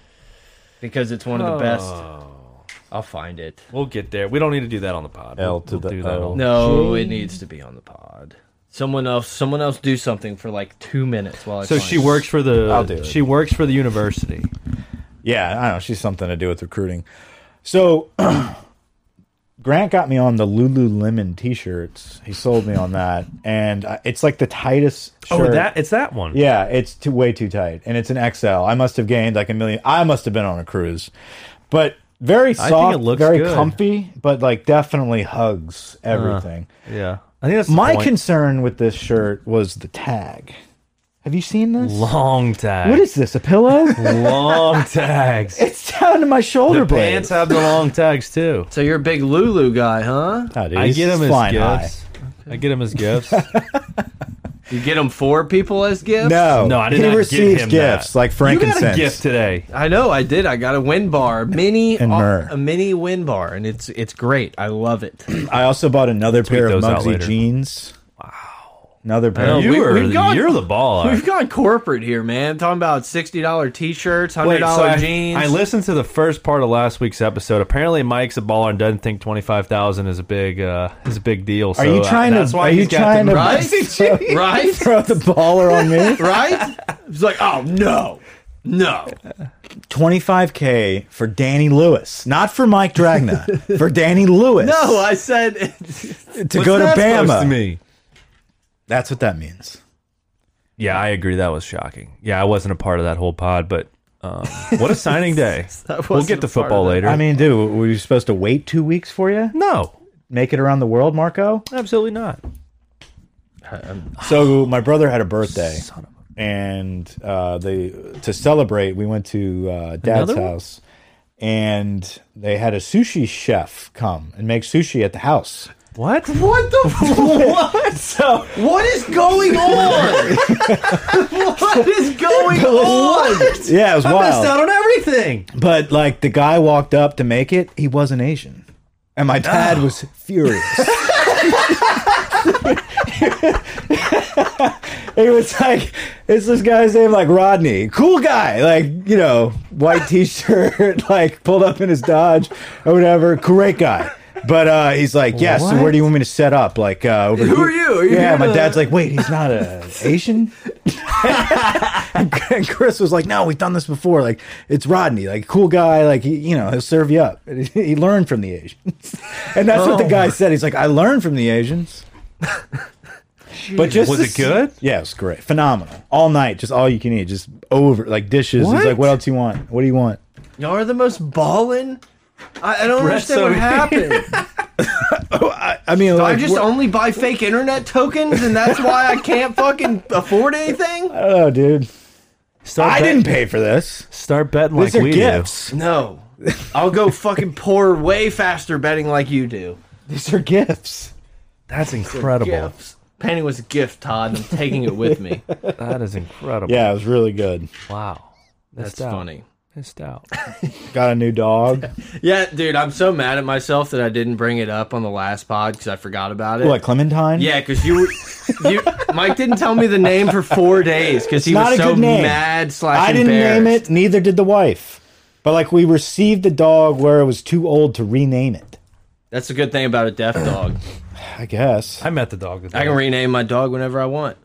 Speaker 2: because it's one of the best Oh, i'll find it
Speaker 3: We'll get there. We don't need to do that on the pod.
Speaker 1: L
Speaker 3: We'll-
Speaker 1: to
Speaker 3: we'll
Speaker 1: the
Speaker 3: do that
Speaker 1: O.
Speaker 3: on-
Speaker 2: no it needs to be on the pod someone else someone else do something for like two minutes while i
Speaker 3: So
Speaker 2: find
Speaker 3: she
Speaker 2: it.
Speaker 3: works for the.
Speaker 1: I'll do it.
Speaker 3: She works for the university.
Speaker 1: Yeah, I don't know. She's something to do with recruiting. So Grant got me on the Lululemon T-shirts. He sold me on that, and uh, it's like the tightest. Shirt.
Speaker 3: Oh, that it's that one.
Speaker 1: Yeah, it's too, way too tight, and it's an XL. I must have gained like a million. I must have been on a cruise, but very
Speaker 3: think
Speaker 1: soft,
Speaker 3: it looks
Speaker 1: very
Speaker 3: good. Uh,
Speaker 1: comfy, but like definitely hugs everything.
Speaker 3: yeah. I think that's the
Speaker 1: My
Speaker 3: point.
Speaker 1: concern with this shirt was the tag. Have you seen this?
Speaker 3: long tag.
Speaker 1: What is this? A pillow?
Speaker 3: long tags?
Speaker 1: it's down to my shoulder
Speaker 3: the
Speaker 1: blades.
Speaker 3: pants have the long tags too.
Speaker 2: So you're a big Lulu guy, huh?
Speaker 1: Oh, dude,
Speaker 3: I
Speaker 1: he's
Speaker 3: get them as
Speaker 1: flying
Speaker 3: gifts. I get them as gifts.
Speaker 2: You get them for people as gifts?
Speaker 1: No,
Speaker 3: No, I did
Speaker 1: he
Speaker 3: not get
Speaker 1: receives
Speaker 3: him
Speaker 1: gifts
Speaker 3: that.
Speaker 1: like
Speaker 3: you got
Speaker 1: frankincense.
Speaker 3: a gift today.
Speaker 2: I know, I did. I got a win bar, mini uh,
Speaker 1: And myrrh.
Speaker 2: a mini win bar, and it's it's great. I love it.
Speaker 1: I also bought another pair of
Speaker 3: those out
Speaker 1: Muggsy
Speaker 3: later.
Speaker 1: jeans. Wow, another pair.
Speaker 3: No,
Speaker 1: of-
Speaker 2: You
Speaker 3: we
Speaker 2: were-
Speaker 3: were-
Speaker 2: we've gone-
Speaker 3: you're the ball.
Speaker 2: We've gone corporate here, man. Talking about sixty dollar t shirts, hundred dollar
Speaker 3: I,
Speaker 2: jeans.
Speaker 3: I listened to the first part of last week's episode. Apparently, Mike's a baller and doesn't think twenty five thousand is a big uh, is a big deal. So
Speaker 1: are you
Speaker 3: uh,
Speaker 1: trying to?
Speaker 3: that's why
Speaker 1: are you
Speaker 3: he's got
Speaker 1: trying
Speaker 3: the-
Speaker 1: to
Speaker 2: Right?
Speaker 1: throw,
Speaker 2: Right?
Speaker 1: throw the baller on me?
Speaker 2: Right? It's like, oh no. No.
Speaker 1: Twenty five k for Danny Lewis, not for Mike Dragna, for Danny Lewis.
Speaker 2: No, I said
Speaker 1: to go to
Speaker 3: uh, What's that supposed
Speaker 1: Bama.
Speaker 3: to me?
Speaker 1: That's what that means.
Speaker 3: Yeah, I agree. That was shocking. Yeah, I wasn't a part of that whole pod, but um, what a signing day. we'll
Speaker 2: wasn't
Speaker 3: get
Speaker 2: a
Speaker 3: to
Speaker 2: part
Speaker 3: football
Speaker 2: of that.
Speaker 3: later.
Speaker 1: I mean, dude, were you supposed to wait two weeks for you?
Speaker 3: no,
Speaker 1: Make it around the world, Marco.
Speaker 3: absolutely not.
Speaker 1: So my brother had a birthday, and uh, they to celebrate, we went to uh, dad's
Speaker 3: Another one?
Speaker 1: house, and they had a sushi chef come and make sushi at the house.
Speaker 3: What?
Speaker 2: What the what?
Speaker 1: So
Speaker 2: What is going on? what is going on?
Speaker 1: yeah, it was
Speaker 3: Missed
Speaker 1: wild.
Speaker 3: out on everything.
Speaker 1: But like the guy walked up to make it, he wasn't Asian, and my
Speaker 2: Ah.
Speaker 1: dad was furious. It was like it's this guy's name like Rodney, cool guy, like you know, white t-shirt, like pulled up in his Dodge or whatever, great guy. But uh, he's like, yeah. So where do you want me to set up? Like uh, over.
Speaker 2: Who
Speaker 1: here?"
Speaker 2: are you? Are you
Speaker 1: yeah,
Speaker 2: here
Speaker 1: my
Speaker 2: to-
Speaker 1: dad's like, wait, he's not a Asian. and Chris was like, no, we've done this before. Like it's Rodney, like cool guy. Like he, you know, he'll serve you up. he learned from the Asians, and that's what the
Speaker 3: Oh.
Speaker 1: guy said. He's like, I learned from the Asians. But just
Speaker 3: Was
Speaker 1: to
Speaker 3: it
Speaker 1: see-
Speaker 3: good?
Speaker 1: Yeah, it was great, phenomenal. All night, just all you can eat, just over like dishes. He's
Speaker 3: What?
Speaker 1: like, what else you want? What do you want?
Speaker 2: Y'all are the most ballin'. I, I don't
Speaker 3: Brett's
Speaker 2: understand what
Speaker 3: so-
Speaker 2: happened.
Speaker 1: I mean,
Speaker 2: I
Speaker 1: like,
Speaker 2: just
Speaker 1: what-
Speaker 2: only buy fake internet tokens, and that's why I can't fucking afford anything.
Speaker 1: I don't know, dude.
Speaker 3: Start
Speaker 1: I
Speaker 3: bet-
Speaker 1: didn't pay for this.
Speaker 3: start betting
Speaker 1: These
Speaker 3: like
Speaker 1: are
Speaker 3: we
Speaker 1: gifts.
Speaker 2: No, I'll go fucking pour way faster betting like you do.
Speaker 1: These are gifts.
Speaker 3: do. That's incredible.
Speaker 2: Gifts. Penny was a gift, Todd. and I'm taking it with me.
Speaker 3: That is incredible.
Speaker 1: Yeah, it was really good.
Speaker 3: Wow.
Speaker 2: That's funny.
Speaker 3: Missed out.
Speaker 1: Got a new dog.
Speaker 2: Yeah, dude, I'm so mad at myself that I didn't bring it up on the last pod because I forgot about it.
Speaker 1: what Clementine?
Speaker 2: Yeah, because you, were- you, Mike didn't tell me the name for four days because he
Speaker 1: not
Speaker 2: was
Speaker 1: a
Speaker 2: so
Speaker 1: good name.
Speaker 2: mad slash
Speaker 1: I didn't
Speaker 2: embarrassed.
Speaker 1: name it. Neither did the wife. But like, we received the dog where it was too old to rename it.
Speaker 2: That's a good thing about a deaf dog.
Speaker 1: I guess.
Speaker 3: I met the dog. Today.
Speaker 2: I can rename my dog whenever I want.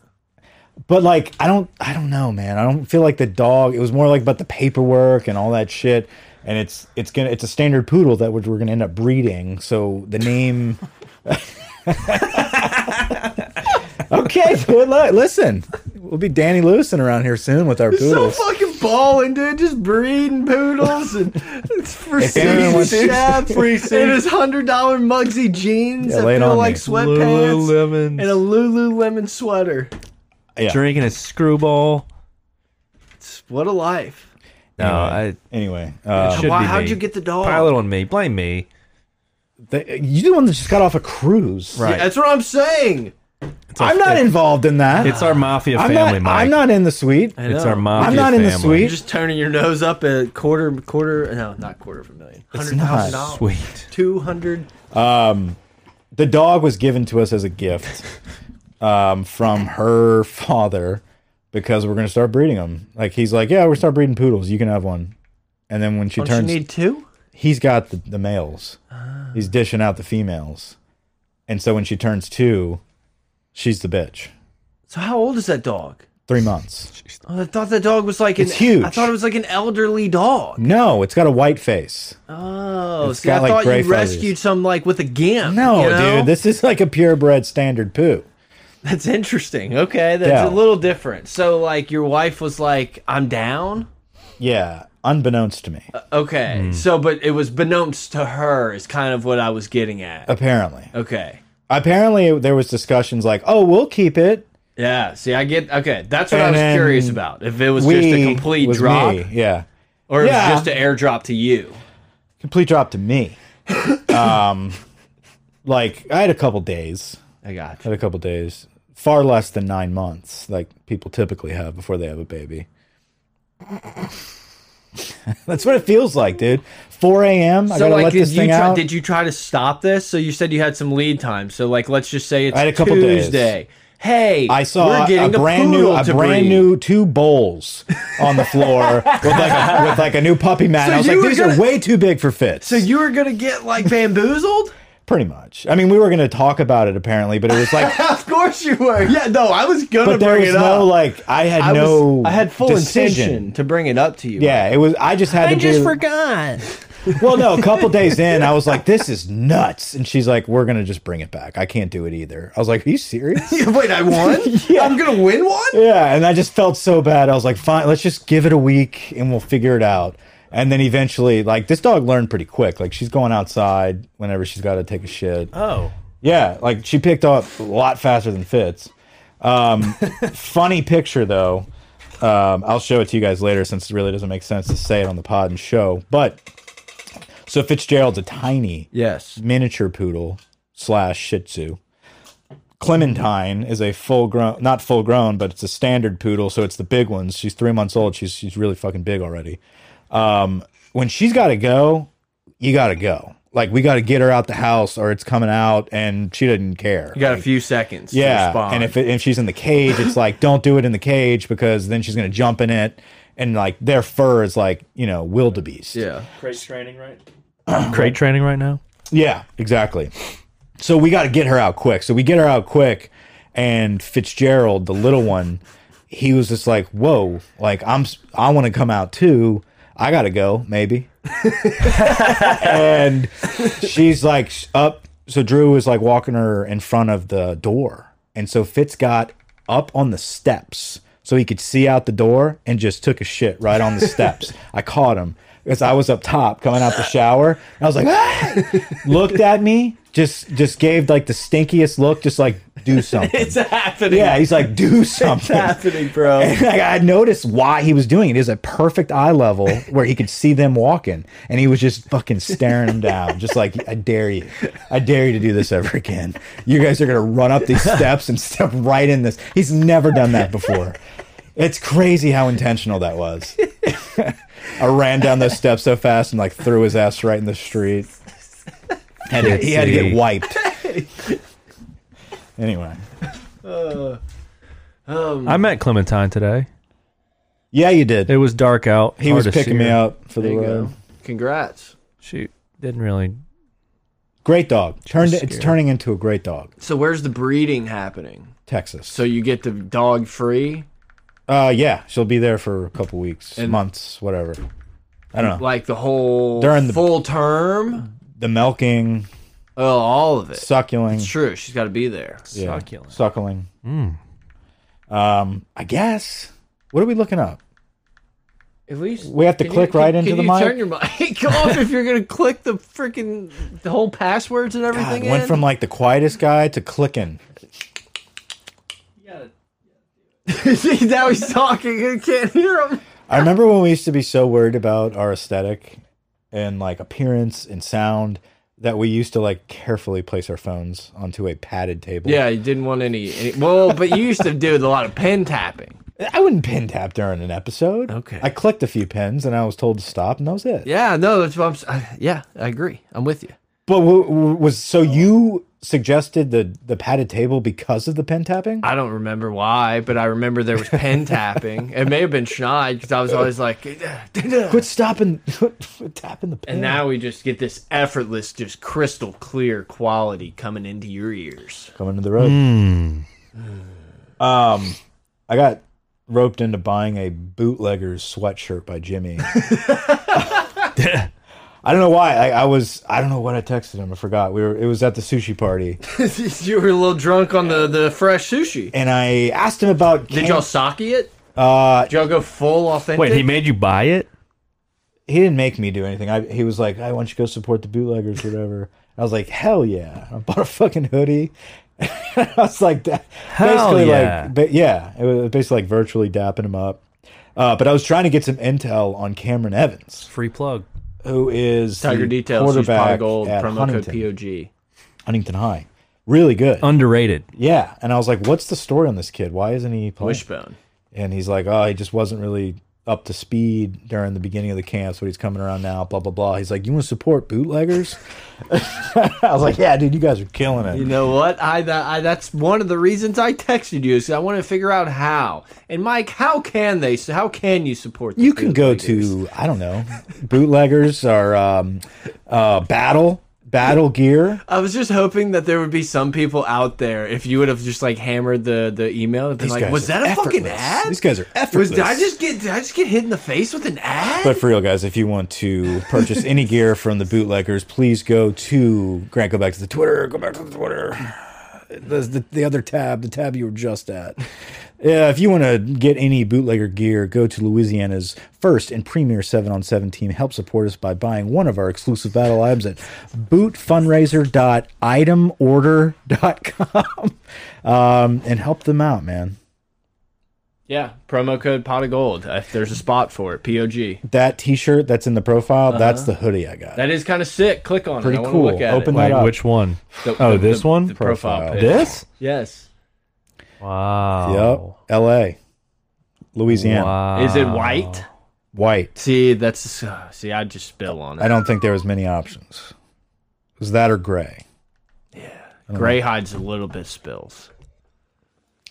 Speaker 1: But like, I don't. I don't know, man. I don't feel like the dog. It was more like about the paperwork and all that shit. And it's it's gonna it's a standard poodle that we're, we're gonna end up breeding. So the name. okay, dude. li- Listen, we'll be Danny Lewison around here soon with our poodles.
Speaker 2: So fucking balling, dude. Just breeding poodles and it's for
Speaker 1: anyone wants-
Speaker 2: free and his hundred dollar Mugsy jeans
Speaker 1: Yeah,
Speaker 2: that
Speaker 1: lay it
Speaker 2: feel
Speaker 1: on
Speaker 2: like
Speaker 1: me.
Speaker 2: sweatpants and a Lululemon sweater.
Speaker 3: drinking a screwball.
Speaker 2: It's- What a life!
Speaker 3: No, I
Speaker 1: Anyway, uh,
Speaker 3: should
Speaker 2: Why?
Speaker 3: be
Speaker 2: How'd
Speaker 3: me.
Speaker 2: you get the
Speaker 1: Oh.
Speaker 2: dog?
Speaker 3: pile it on me. Blame me.
Speaker 1: the, you the one that just got off a cruise.
Speaker 3: Right.
Speaker 2: That's what I'm saying.
Speaker 1: I'm not involved in that.
Speaker 3: It's our mafia
Speaker 1: I'm
Speaker 3: family,
Speaker 1: not.
Speaker 3: Mike.
Speaker 1: I'm not in the suite.
Speaker 3: It's
Speaker 2: know.
Speaker 3: our mafia
Speaker 1: I'm not in the
Speaker 3: family.
Speaker 2: You're just turning your nose up at quarter, quarter. No, not quarter of a million. Hundred thousand dollars.
Speaker 3: Sweet.
Speaker 2: Two hundred.
Speaker 1: The dog was given to us as a gift um, from her father because we're gonna start breeding them. Like he's like, yeah, we're start breeding poodles. You can have one. And then when she
Speaker 2: Don't you
Speaker 1: turns,
Speaker 2: need Ah. two?
Speaker 1: he's got the, the males. He's dishing out the females. And so when she turns two, she's the bitch.
Speaker 2: So how old is that dog?
Speaker 1: Three months.
Speaker 2: Oh, I thought that dog was like an,
Speaker 1: It's huge.
Speaker 2: I thought it was like an elderly dog.
Speaker 1: No, it's got a white face.
Speaker 2: Oh,
Speaker 1: It's
Speaker 2: see,
Speaker 1: got,
Speaker 2: I
Speaker 1: like,
Speaker 2: thought
Speaker 1: gray
Speaker 2: you
Speaker 1: feathers.
Speaker 2: rescued some like with a gimp.
Speaker 1: No,
Speaker 2: you know?
Speaker 1: dude, this is like a purebred standard poo.
Speaker 2: that's interesting. Okay, that's
Speaker 1: Yeah.
Speaker 2: a little different. So, like, your wife was like, "I'm down."
Speaker 1: Yeah, unbeknownst to me,
Speaker 2: Uh, Okay,
Speaker 1: Hmm.
Speaker 2: so but it was benounced to her is kind of what I was getting
Speaker 1: Uh,
Speaker 2: at.
Speaker 1: apparently.
Speaker 2: Okay,
Speaker 1: Apparently, there was discussions like, "Oh, we'll keep it."
Speaker 2: yeah. See, I get. Okay, that's what I
Speaker 1: And
Speaker 2: was
Speaker 1: then
Speaker 2: curious about. If it was
Speaker 1: we
Speaker 2: just a complete
Speaker 1: was
Speaker 2: drop,
Speaker 1: me. yeah,
Speaker 2: or it
Speaker 1: Yeah.
Speaker 2: was just an airdrop to you.
Speaker 1: complete drop to me. um, like I had a couple days,
Speaker 2: I got.
Speaker 1: had a couple days, far less than nine months, like people typically have before they have a baby. That's what it feels like, dude. 4 a.m. I
Speaker 2: So,
Speaker 1: gotta
Speaker 2: like,
Speaker 1: let
Speaker 2: did
Speaker 1: this
Speaker 2: you
Speaker 1: thing
Speaker 2: try,
Speaker 1: out.
Speaker 2: did you try to stop this? So you said you had some lead time. So, like, let's just say it's
Speaker 1: I had a couple days.
Speaker 2: Tuesday. Hey,
Speaker 1: I saw
Speaker 2: we're
Speaker 1: a
Speaker 2: getting
Speaker 1: brand new,
Speaker 2: poodle
Speaker 1: a
Speaker 2: to
Speaker 1: brand
Speaker 2: breed.
Speaker 1: new two bowls on the floor with like a, with like a new puppy mat.
Speaker 2: So
Speaker 1: I was
Speaker 2: you
Speaker 1: like,
Speaker 2: were
Speaker 1: these
Speaker 2: gonna-
Speaker 1: are way too big for fits.
Speaker 2: So you were gonna get like bamboozled?
Speaker 1: Pretty much. I mean, we were going to talk about it apparently, but it was like,
Speaker 2: of course you were. Yeah, no, I was gonna
Speaker 1: but there
Speaker 2: bring
Speaker 1: was
Speaker 2: it
Speaker 1: no
Speaker 2: up.
Speaker 1: like. I had
Speaker 2: I
Speaker 1: no.
Speaker 2: was, I had full
Speaker 1: decision.
Speaker 2: intention to bring it up to you.
Speaker 1: Yeah, it was. I just had to be.
Speaker 2: forgot.
Speaker 1: well, no, a couple days in, I was like, "This is nuts," and she's like, "We're gonna just bring it back. I can't do it either." I was like, "Are you serious?"
Speaker 2: Wait, I won. I'm gonna win one.
Speaker 1: yeah, and I just felt so bad. I was like, "Fine, let's just give it a week and we'll figure it out." And then eventually, like this dog learned pretty quick. Like she's going outside whenever she's got to take a shit.
Speaker 3: Oh.
Speaker 1: Yeah, like she picked up a lot faster than Fitz. Um, funny picture though. Um, I'll show it to you guys later since it really doesn't make sense to say it on the pod and show. But so Fitzgerald's a tiny
Speaker 2: Yes.
Speaker 1: miniature poodle slash Shih Tzu. Clementine is a full grown, not full grown, but it's a standard poodle. So it's the big ones. She's three months old. She's she's really fucking big already. Um, when she's got to go, you got to go. Like we got to get her out the house, or it's coming out, and she doesn't care.
Speaker 2: You got a few seconds. To
Speaker 1: yeah,
Speaker 2: respond.
Speaker 1: and if it, if she's in the cage, it's like don't do it in the cage because then she's gonna jump in it, and like their fur is like you know wildebeest.
Speaker 2: yeah,
Speaker 3: Crate training right now?
Speaker 1: Yeah, exactly. So we got to get her out quick. So we get her out quick, and Fitzgerald, the little one, he was just like, "Whoa! Like I'm, s- I want to come out too. I gotta go, maybe." and she's like sh- up. So Drew is like walking her in front of the door, and so Fitz got up on the steps so he could see out the door and just took a shit right on the steps. I caught him because I was up top coming out the shower. And I was like, "Ah!" looked at me, just just gave like the stinkiest look, just like do something.
Speaker 2: It's happening.
Speaker 1: yeah, he's like do
Speaker 2: it's
Speaker 1: something.
Speaker 2: happening, bro.
Speaker 3: Um,
Speaker 1: And, like, I noticed why he was doing it. It was a perfect eye level where he could see them walking, and he was just fucking staring them down, just like I dare you, I dare you to do this ever again. You guys are gonna run up these steps and step right in this. He's never done that before. It's crazy how intentional that was. I ran down those steps so fast and like threw his ass right in the street. Had to- he had to get wiped. Anyway,
Speaker 3: I met Clementine today.
Speaker 1: yeah, you did.
Speaker 3: It was dark out.
Speaker 1: he
Speaker 3: hard
Speaker 1: was
Speaker 3: to see
Speaker 1: picking me
Speaker 3: her.
Speaker 1: up for
Speaker 2: There
Speaker 1: the
Speaker 2: you
Speaker 1: road.
Speaker 2: go. Congrats.
Speaker 3: She didn't really.
Speaker 1: Great dog. Turned it's
Speaker 3: scared.
Speaker 1: turning into a great dog.
Speaker 2: So where's the breeding happening?
Speaker 1: Texas.
Speaker 2: So you get the dog free,
Speaker 1: uh, yeah, she'll be there for a couple weeks, months, whatever. I don't know.
Speaker 2: like the whole
Speaker 1: During the-
Speaker 2: full term.
Speaker 1: The milking,
Speaker 2: Oh, all of it.
Speaker 1: suckling,
Speaker 2: True, she's got to be there.
Speaker 1: yeah,
Speaker 3: Succulent.
Speaker 1: suckling. Um, I guess. What are we looking up?
Speaker 2: At least
Speaker 1: We have to
Speaker 2: can
Speaker 1: click
Speaker 2: you,
Speaker 1: right
Speaker 2: can,
Speaker 1: into
Speaker 2: can
Speaker 1: the
Speaker 2: you
Speaker 1: mic?
Speaker 2: Turn your mic off if you're gonna click the freaking the whole passwords and
Speaker 1: God,
Speaker 2: everything.
Speaker 1: went
Speaker 2: in.
Speaker 1: from like the quietest guy to clicking.
Speaker 2: See, now he's talking and you can't hear him.
Speaker 1: I remember when we used to be so worried about our aesthetic and like appearance and sound that we used to like carefully place our phones onto a padded table.
Speaker 2: Yeah, you didn't want any. any well, but you used to do a lot of pen tapping.
Speaker 1: I wouldn't pin tap during an episode.
Speaker 2: Okay.
Speaker 1: I clicked a few pins and I was told to stop, and that was it.
Speaker 2: Yeah, no, that's what I'm. s- I- yeah, I agree. I'm with you.
Speaker 1: But w w was so you suggested the the padded table because of the pin tapping?
Speaker 2: I don't remember why, but I remember there was pen tapping. It may have been Schneid because I was always like,
Speaker 1: Quit stopping, quit tapping the pin.
Speaker 2: and now we just get this effortless, just crystal clear quality coming into your ears.
Speaker 1: coming to the road.
Speaker 2: Hmm.
Speaker 1: Um, I got roped into buying a bootlegger's sweatshirt by Jimmy. I don't know why. I, I was. I don't know what I texted him. I forgot. We were. It was at the sushi party,
Speaker 2: you were a little drunk on the the fresh sushi.
Speaker 1: and I asked him about.
Speaker 2: Did y'all sake it?
Speaker 1: Uh,
Speaker 2: Did y'all go full authentic?
Speaker 3: Wait, he made you buy it?
Speaker 1: he didn't make me do anything. I, he was like, "I want you to go support the bootleggers, whatever." I was like, "Hell yeah!" I bought a fucking hoodie. I was like, that,
Speaker 3: Hell
Speaker 1: basically
Speaker 3: yeah.
Speaker 1: like, but yeah, it was basically like virtually dapping him up. Uh, but I was trying to get some intel on Cameron Evans,
Speaker 3: Free plug.
Speaker 1: who is
Speaker 2: Tiger
Speaker 1: the
Speaker 2: details. Use
Speaker 1: quarterback
Speaker 2: Pot Gold
Speaker 1: at
Speaker 2: promo
Speaker 1: Huntington,
Speaker 2: code POG.
Speaker 1: Huntington High. Really good,
Speaker 2: Um,
Speaker 3: Underrated.
Speaker 1: yeah. And I was like, "What's the story on this kid? Why isn't he playing?"
Speaker 2: Wishbone.
Speaker 1: and he's like, oh, he just wasn't really up to speed during the beginning of the camps, but he's coming around now, blah, blah, blah. He's like, you want to support bootleggers? I was like, yeah, dude, you guys are killing
Speaker 2: You
Speaker 1: it.
Speaker 2: know what? I, that, I that's one of the reasons I texted you is I want to figure out how. And Mike, how can they? So how can you support? The
Speaker 1: You can
Speaker 2: field
Speaker 1: go
Speaker 2: leaders?
Speaker 1: to, I don't know, bootleggers or um, uh, battle, battle gear.
Speaker 2: I was just hoping that there would be some people out there if you would have just like hammered the the email and been
Speaker 1: These
Speaker 2: like,
Speaker 1: guys
Speaker 2: was
Speaker 1: are
Speaker 2: that a fucking
Speaker 1: effortless.
Speaker 2: ad?
Speaker 1: These guys are
Speaker 2: Was did I
Speaker 1: effortless.
Speaker 2: just get did I just get hit in the face with an ad?
Speaker 1: But for real, guys, if you want to purchase any gear from the bootleggers, please go to Grant. Go back to the Twitter. Go back to the Twitter. The, the, the other tab, the tab you were just at. Yeah, if you want to get any bootlegger gear, go to Louisiana's first and premier 7 on 7 team. Help support us by buying one of our exclusive battle items at bootfundraiser.itemorder.com um, and help them out, man.
Speaker 2: yeah, promo code pot of gold. If there's a spot for it, POG.
Speaker 1: That t shirt that's in the profile, that's the hoodie I got.
Speaker 2: Uh-huh. That is kind of sick. Click on
Speaker 1: Pretty
Speaker 2: it. I
Speaker 1: cool.
Speaker 2: want to look at
Speaker 1: Open
Speaker 2: it.
Speaker 1: that
Speaker 3: Wait,
Speaker 1: up.
Speaker 3: which one?
Speaker 2: The-
Speaker 3: Oh,
Speaker 2: the-
Speaker 3: this
Speaker 2: the-
Speaker 3: one?
Speaker 2: The profile.
Speaker 1: Profile.
Speaker 2: pic.
Speaker 3: This?
Speaker 2: Yes.
Speaker 3: Wow.
Speaker 2: Oh.
Speaker 1: Yep. L.A. Louisiana.
Speaker 3: Wow.
Speaker 2: Is it
Speaker 1: Ah.
Speaker 2: white?
Speaker 1: White.
Speaker 2: See, that's uh, see. I just spill on
Speaker 1: I
Speaker 2: it.
Speaker 1: don't think there was many options. It was that or gray.
Speaker 2: Gray hides a little bit spills.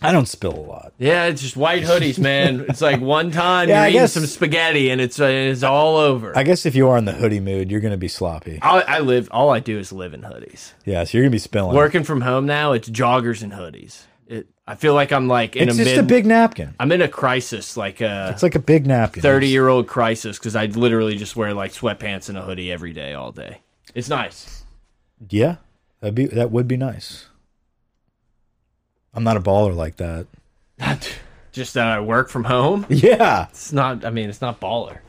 Speaker 1: I don't spill a lot.
Speaker 2: Yeah, it's just white hoodies, man. It's like one time
Speaker 1: Yeah,
Speaker 2: you're
Speaker 1: I
Speaker 2: eating
Speaker 1: guess-
Speaker 2: some spaghetti and it's uh, it's all over.
Speaker 1: I
Speaker 2: I,
Speaker 1: guess if you are in the hoodie mood, you're going to be sloppy.
Speaker 2: I live. All I do is live in hoodies.
Speaker 1: Yeah, so you're going to be spilling.
Speaker 2: Working from home now, it's joggers and hoodies. It, I feel like I'm like in
Speaker 1: it's
Speaker 2: a
Speaker 1: just
Speaker 2: mid.
Speaker 1: a big napkin.
Speaker 2: I'm in a crisis, like a
Speaker 1: It's like a big napkin.
Speaker 2: 30 year old crisis, because I literally just wear like sweatpants and a hoodie every day, all day. It's nice.
Speaker 1: Yeah, that'd be that would be nice. I'm not a baller like that.
Speaker 2: Just that I work from home.
Speaker 1: Yeah,
Speaker 2: It's not. I mean, it's not baller.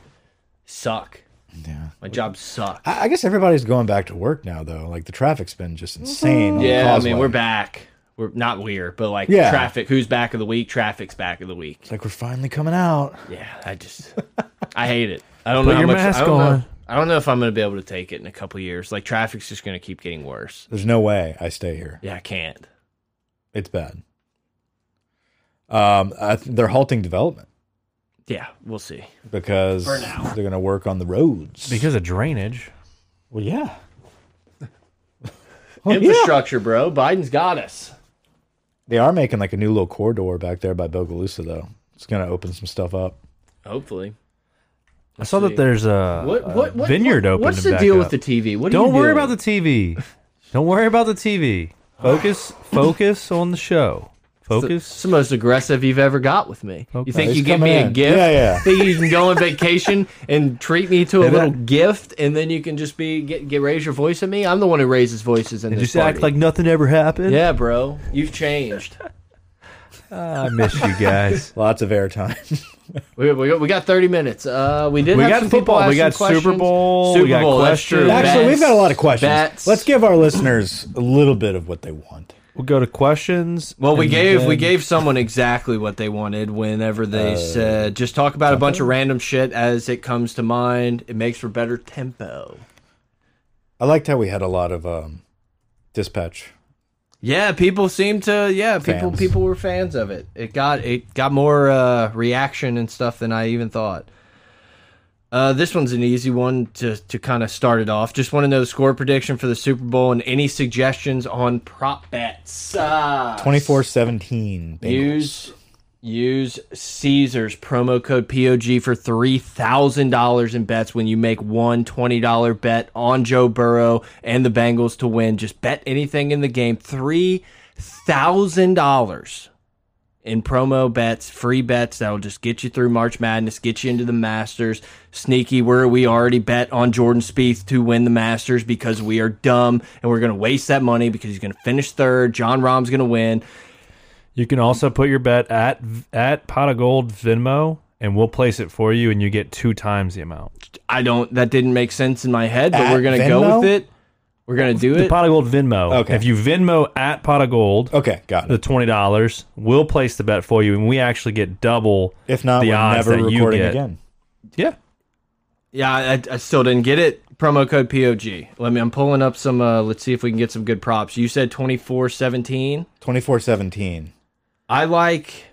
Speaker 2: Suck.
Speaker 1: yeah.
Speaker 2: My job sucks.
Speaker 1: I, I guess everybody's going back to work now, though. Like the traffic's been just insane. on the
Speaker 2: Yeah, I
Speaker 1: causeway.
Speaker 2: mean, we're back. We're not we're, but like
Speaker 1: Yeah.
Speaker 2: traffic. Who's back of the week? Traffic's back of the week.
Speaker 1: It's like we're finally coming out.
Speaker 2: Yeah, I just, I hate it. I don't
Speaker 3: Put
Speaker 2: know
Speaker 3: your
Speaker 2: how much.
Speaker 3: mask
Speaker 2: I don't Know,
Speaker 3: on.
Speaker 2: I don't know if I'm going to be able to take it in a couple years. Like traffic's just going to keep getting worse.
Speaker 1: There's no way I stay here.
Speaker 2: Yeah, I can't.
Speaker 1: It's bad. Um, I th they're halting development
Speaker 2: Yeah, we'll see.
Speaker 1: because
Speaker 2: For now.
Speaker 1: they're going to work on the roads.
Speaker 3: because of drainage.
Speaker 1: well, yeah.
Speaker 3: Oh,
Speaker 1: Well, yeah.
Speaker 2: Infrastructure, bro. Biden's got us.
Speaker 1: They are making like a new little corridor back there by Bogalusa, though. It's going to open some stuff up.
Speaker 2: Hopefully.
Speaker 3: I saw
Speaker 2: see.
Speaker 3: that there's a,
Speaker 2: What? What?
Speaker 3: a
Speaker 2: what
Speaker 3: Uh, vineyard
Speaker 2: what-
Speaker 3: open.
Speaker 2: What's the deal with the TV? What? Are
Speaker 3: Don't
Speaker 2: you
Speaker 3: worry
Speaker 2: doing?
Speaker 3: about the TV. Don't worry about the TV. Focus, focus on the show.
Speaker 2: It's
Speaker 3: Focus.
Speaker 2: the most aggressive you've ever got with me.
Speaker 3: Okay.
Speaker 2: You think
Speaker 1: It's
Speaker 2: you give
Speaker 1: coming
Speaker 2: me a
Speaker 1: in.
Speaker 2: gift?
Speaker 1: Yeah, yeah.
Speaker 2: Think you can go on vacation and treat me to a
Speaker 3: Maybe
Speaker 2: little
Speaker 3: I-
Speaker 2: gift, and then you can just be get, get raise your voice at me? I'm the one who raises voices in this
Speaker 3: Just
Speaker 2: party.
Speaker 3: act like nothing ever happened.
Speaker 2: yeah, bro. You've changed.
Speaker 3: I miss you guys.
Speaker 1: Lots of airtime.
Speaker 2: We, we, we got 30 minutes. Uh, we did.
Speaker 3: We
Speaker 2: have
Speaker 3: got
Speaker 2: some people
Speaker 3: football.
Speaker 2: ask
Speaker 3: We got
Speaker 2: some
Speaker 3: Super
Speaker 2: questions.
Speaker 3: Bowl.
Speaker 2: Super
Speaker 3: We got
Speaker 2: Bowl. that's
Speaker 3: questions.
Speaker 2: true.
Speaker 1: Actually, we've
Speaker 2: Bets.
Speaker 1: got a lot of questions.
Speaker 2: Bets.
Speaker 1: Let's give our listeners a little bit of what they want.
Speaker 3: We'll go to questions.
Speaker 2: Well, we
Speaker 3: and
Speaker 2: gave we
Speaker 3: then-
Speaker 2: gave someone exactly what they wanted whenever
Speaker 1: Uh,
Speaker 2: they said just talk about a bunch of random shit as it comes to mind. It makes for better tempo.
Speaker 1: I liked how we had a lot of um, dispatch.
Speaker 2: Yeah, people seem to yeah, people
Speaker 1: Fans.
Speaker 2: people were fans of it. It got it got more uh reaction and stuff than I even thought. Uh, this one's an easy one to, to kind of start it off. Just want to know the score prediction for the Super Bowl and any suggestions on prop bets. Ah.
Speaker 1: 24 17.
Speaker 2: Use use Caesars promo code POG for three thousand dollars in bets when you make one twenty dollar bet on Joe Burrow and the Bengals to win. Just bet anything in the game. Three thousand dollars in promo bets, free bets that'll just get you through March Madness, get you into the Masters. Sneaky, where we already bet on Jordan Spieth to win the Masters because we are dumb and we're going to waste that money because he's going to finish third. John Rahm's going to win.
Speaker 3: You can also put your bet at at pot of gold Venmo, and we'll place it for you, and you get two times the amount.
Speaker 2: I don't. That didn't make sense in my head, but
Speaker 1: At
Speaker 2: we're gonna go
Speaker 1: Venmo?
Speaker 2: with it. We're gonna do
Speaker 3: The
Speaker 2: it.
Speaker 3: pot of gold Venmo.
Speaker 1: Okay.
Speaker 3: If you Venmo at pot of gold,
Speaker 1: Okay, got
Speaker 3: the
Speaker 1: it.
Speaker 3: twenty dollars, we'll place the bet for you, and we actually get double.
Speaker 1: If not,
Speaker 3: the
Speaker 1: we're
Speaker 3: odds
Speaker 1: never
Speaker 3: that you
Speaker 1: recording
Speaker 3: get.
Speaker 1: again.
Speaker 3: Yeah.
Speaker 2: Yeah, I, I still didn't get it. Promo code POG. Let me. I'm pulling up some. Uh, let's see if we can get some good props. You said 24-17.
Speaker 1: 24 17.
Speaker 2: I like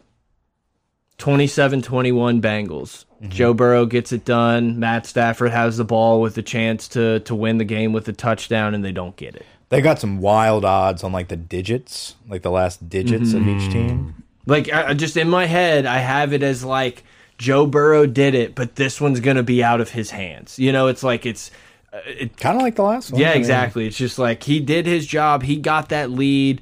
Speaker 2: 27-21 Bengals.
Speaker 1: Mm-hmm.
Speaker 2: Joe Burrow gets it done. Matt Stafford has the ball with the chance to to win the game with a touchdown, and they don't get it.
Speaker 1: They got some wild odds on like the digits, like the last digits of
Speaker 2: Mm.
Speaker 1: each team.
Speaker 2: Like I, I just in my head, I have it as like Joe Burrow did it, but this one's gonna be out of his hands. You know, it's like it's
Speaker 1: Kind of like the last one. I
Speaker 2: Yeah,
Speaker 1: mean,
Speaker 2: exactly. It's just like he did his job. He got that lead.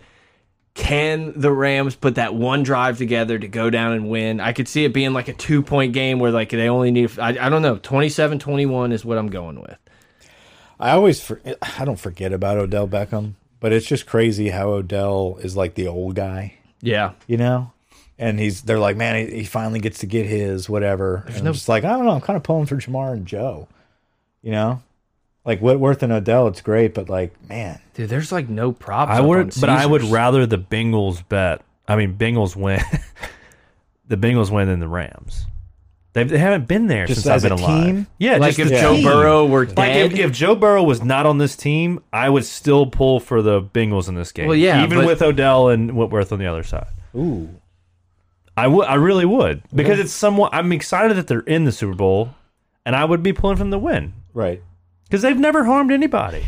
Speaker 2: Can the Rams put that one drive together to go down and win? I could see it being like a two point game where like they only need. I, I don't know. 27-21 is what I'm going with.
Speaker 1: I always, for, I don't forget about Odell Beckham, but it's just crazy how Odell is like the old guy,
Speaker 2: Yeah,
Speaker 1: you know? And he's, they're like, man, he, he finally gets to get his, whatever. And I'm just like, I don't know. I'm kind of pulling for Jamar and Joe, you know? Like Whitworth and Odell, it's great, but like, man,
Speaker 2: dude. There's like no props.
Speaker 3: I
Speaker 2: up
Speaker 3: would,
Speaker 2: on
Speaker 3: but I would
Speaker 2: Caesars.
Speaker 3: rather the Bengals bet. I mean, Bengals win. the Bengals win than the Rams. They've, they haven't been there
Speaker 1: Just
Speaker 3: since I've
Speaker 1: as
Speaker 3: been
Speaker 1: a
Speaker 3: alive.
Speaker 1: team?
Speaker 3: Yeah,
Speaker 2: like
Speaker 3: just
Speaker 2: if
Speaker 3: the
Speaker 2: Joe
Speaker 3: team.
Speaker 2: Burrow were dead.
Speaker 3: Like if, if Joe Burrow was not on this team, I would still pull for the Bengals in this game.
Speaker 2: Well, yeah,
Speaker 3: even
Speaker 2: but-
Speaker 3: with Odell and Whitworth on the other side,
Speaker 1: ooh.
Speaker 3: I would. I really would because it's somewhat. I'm excited that they're in the Super Bowl, and I would be pulling from the win
Speaker 1: Right.
Speaker 3: because they've never harmed anybody.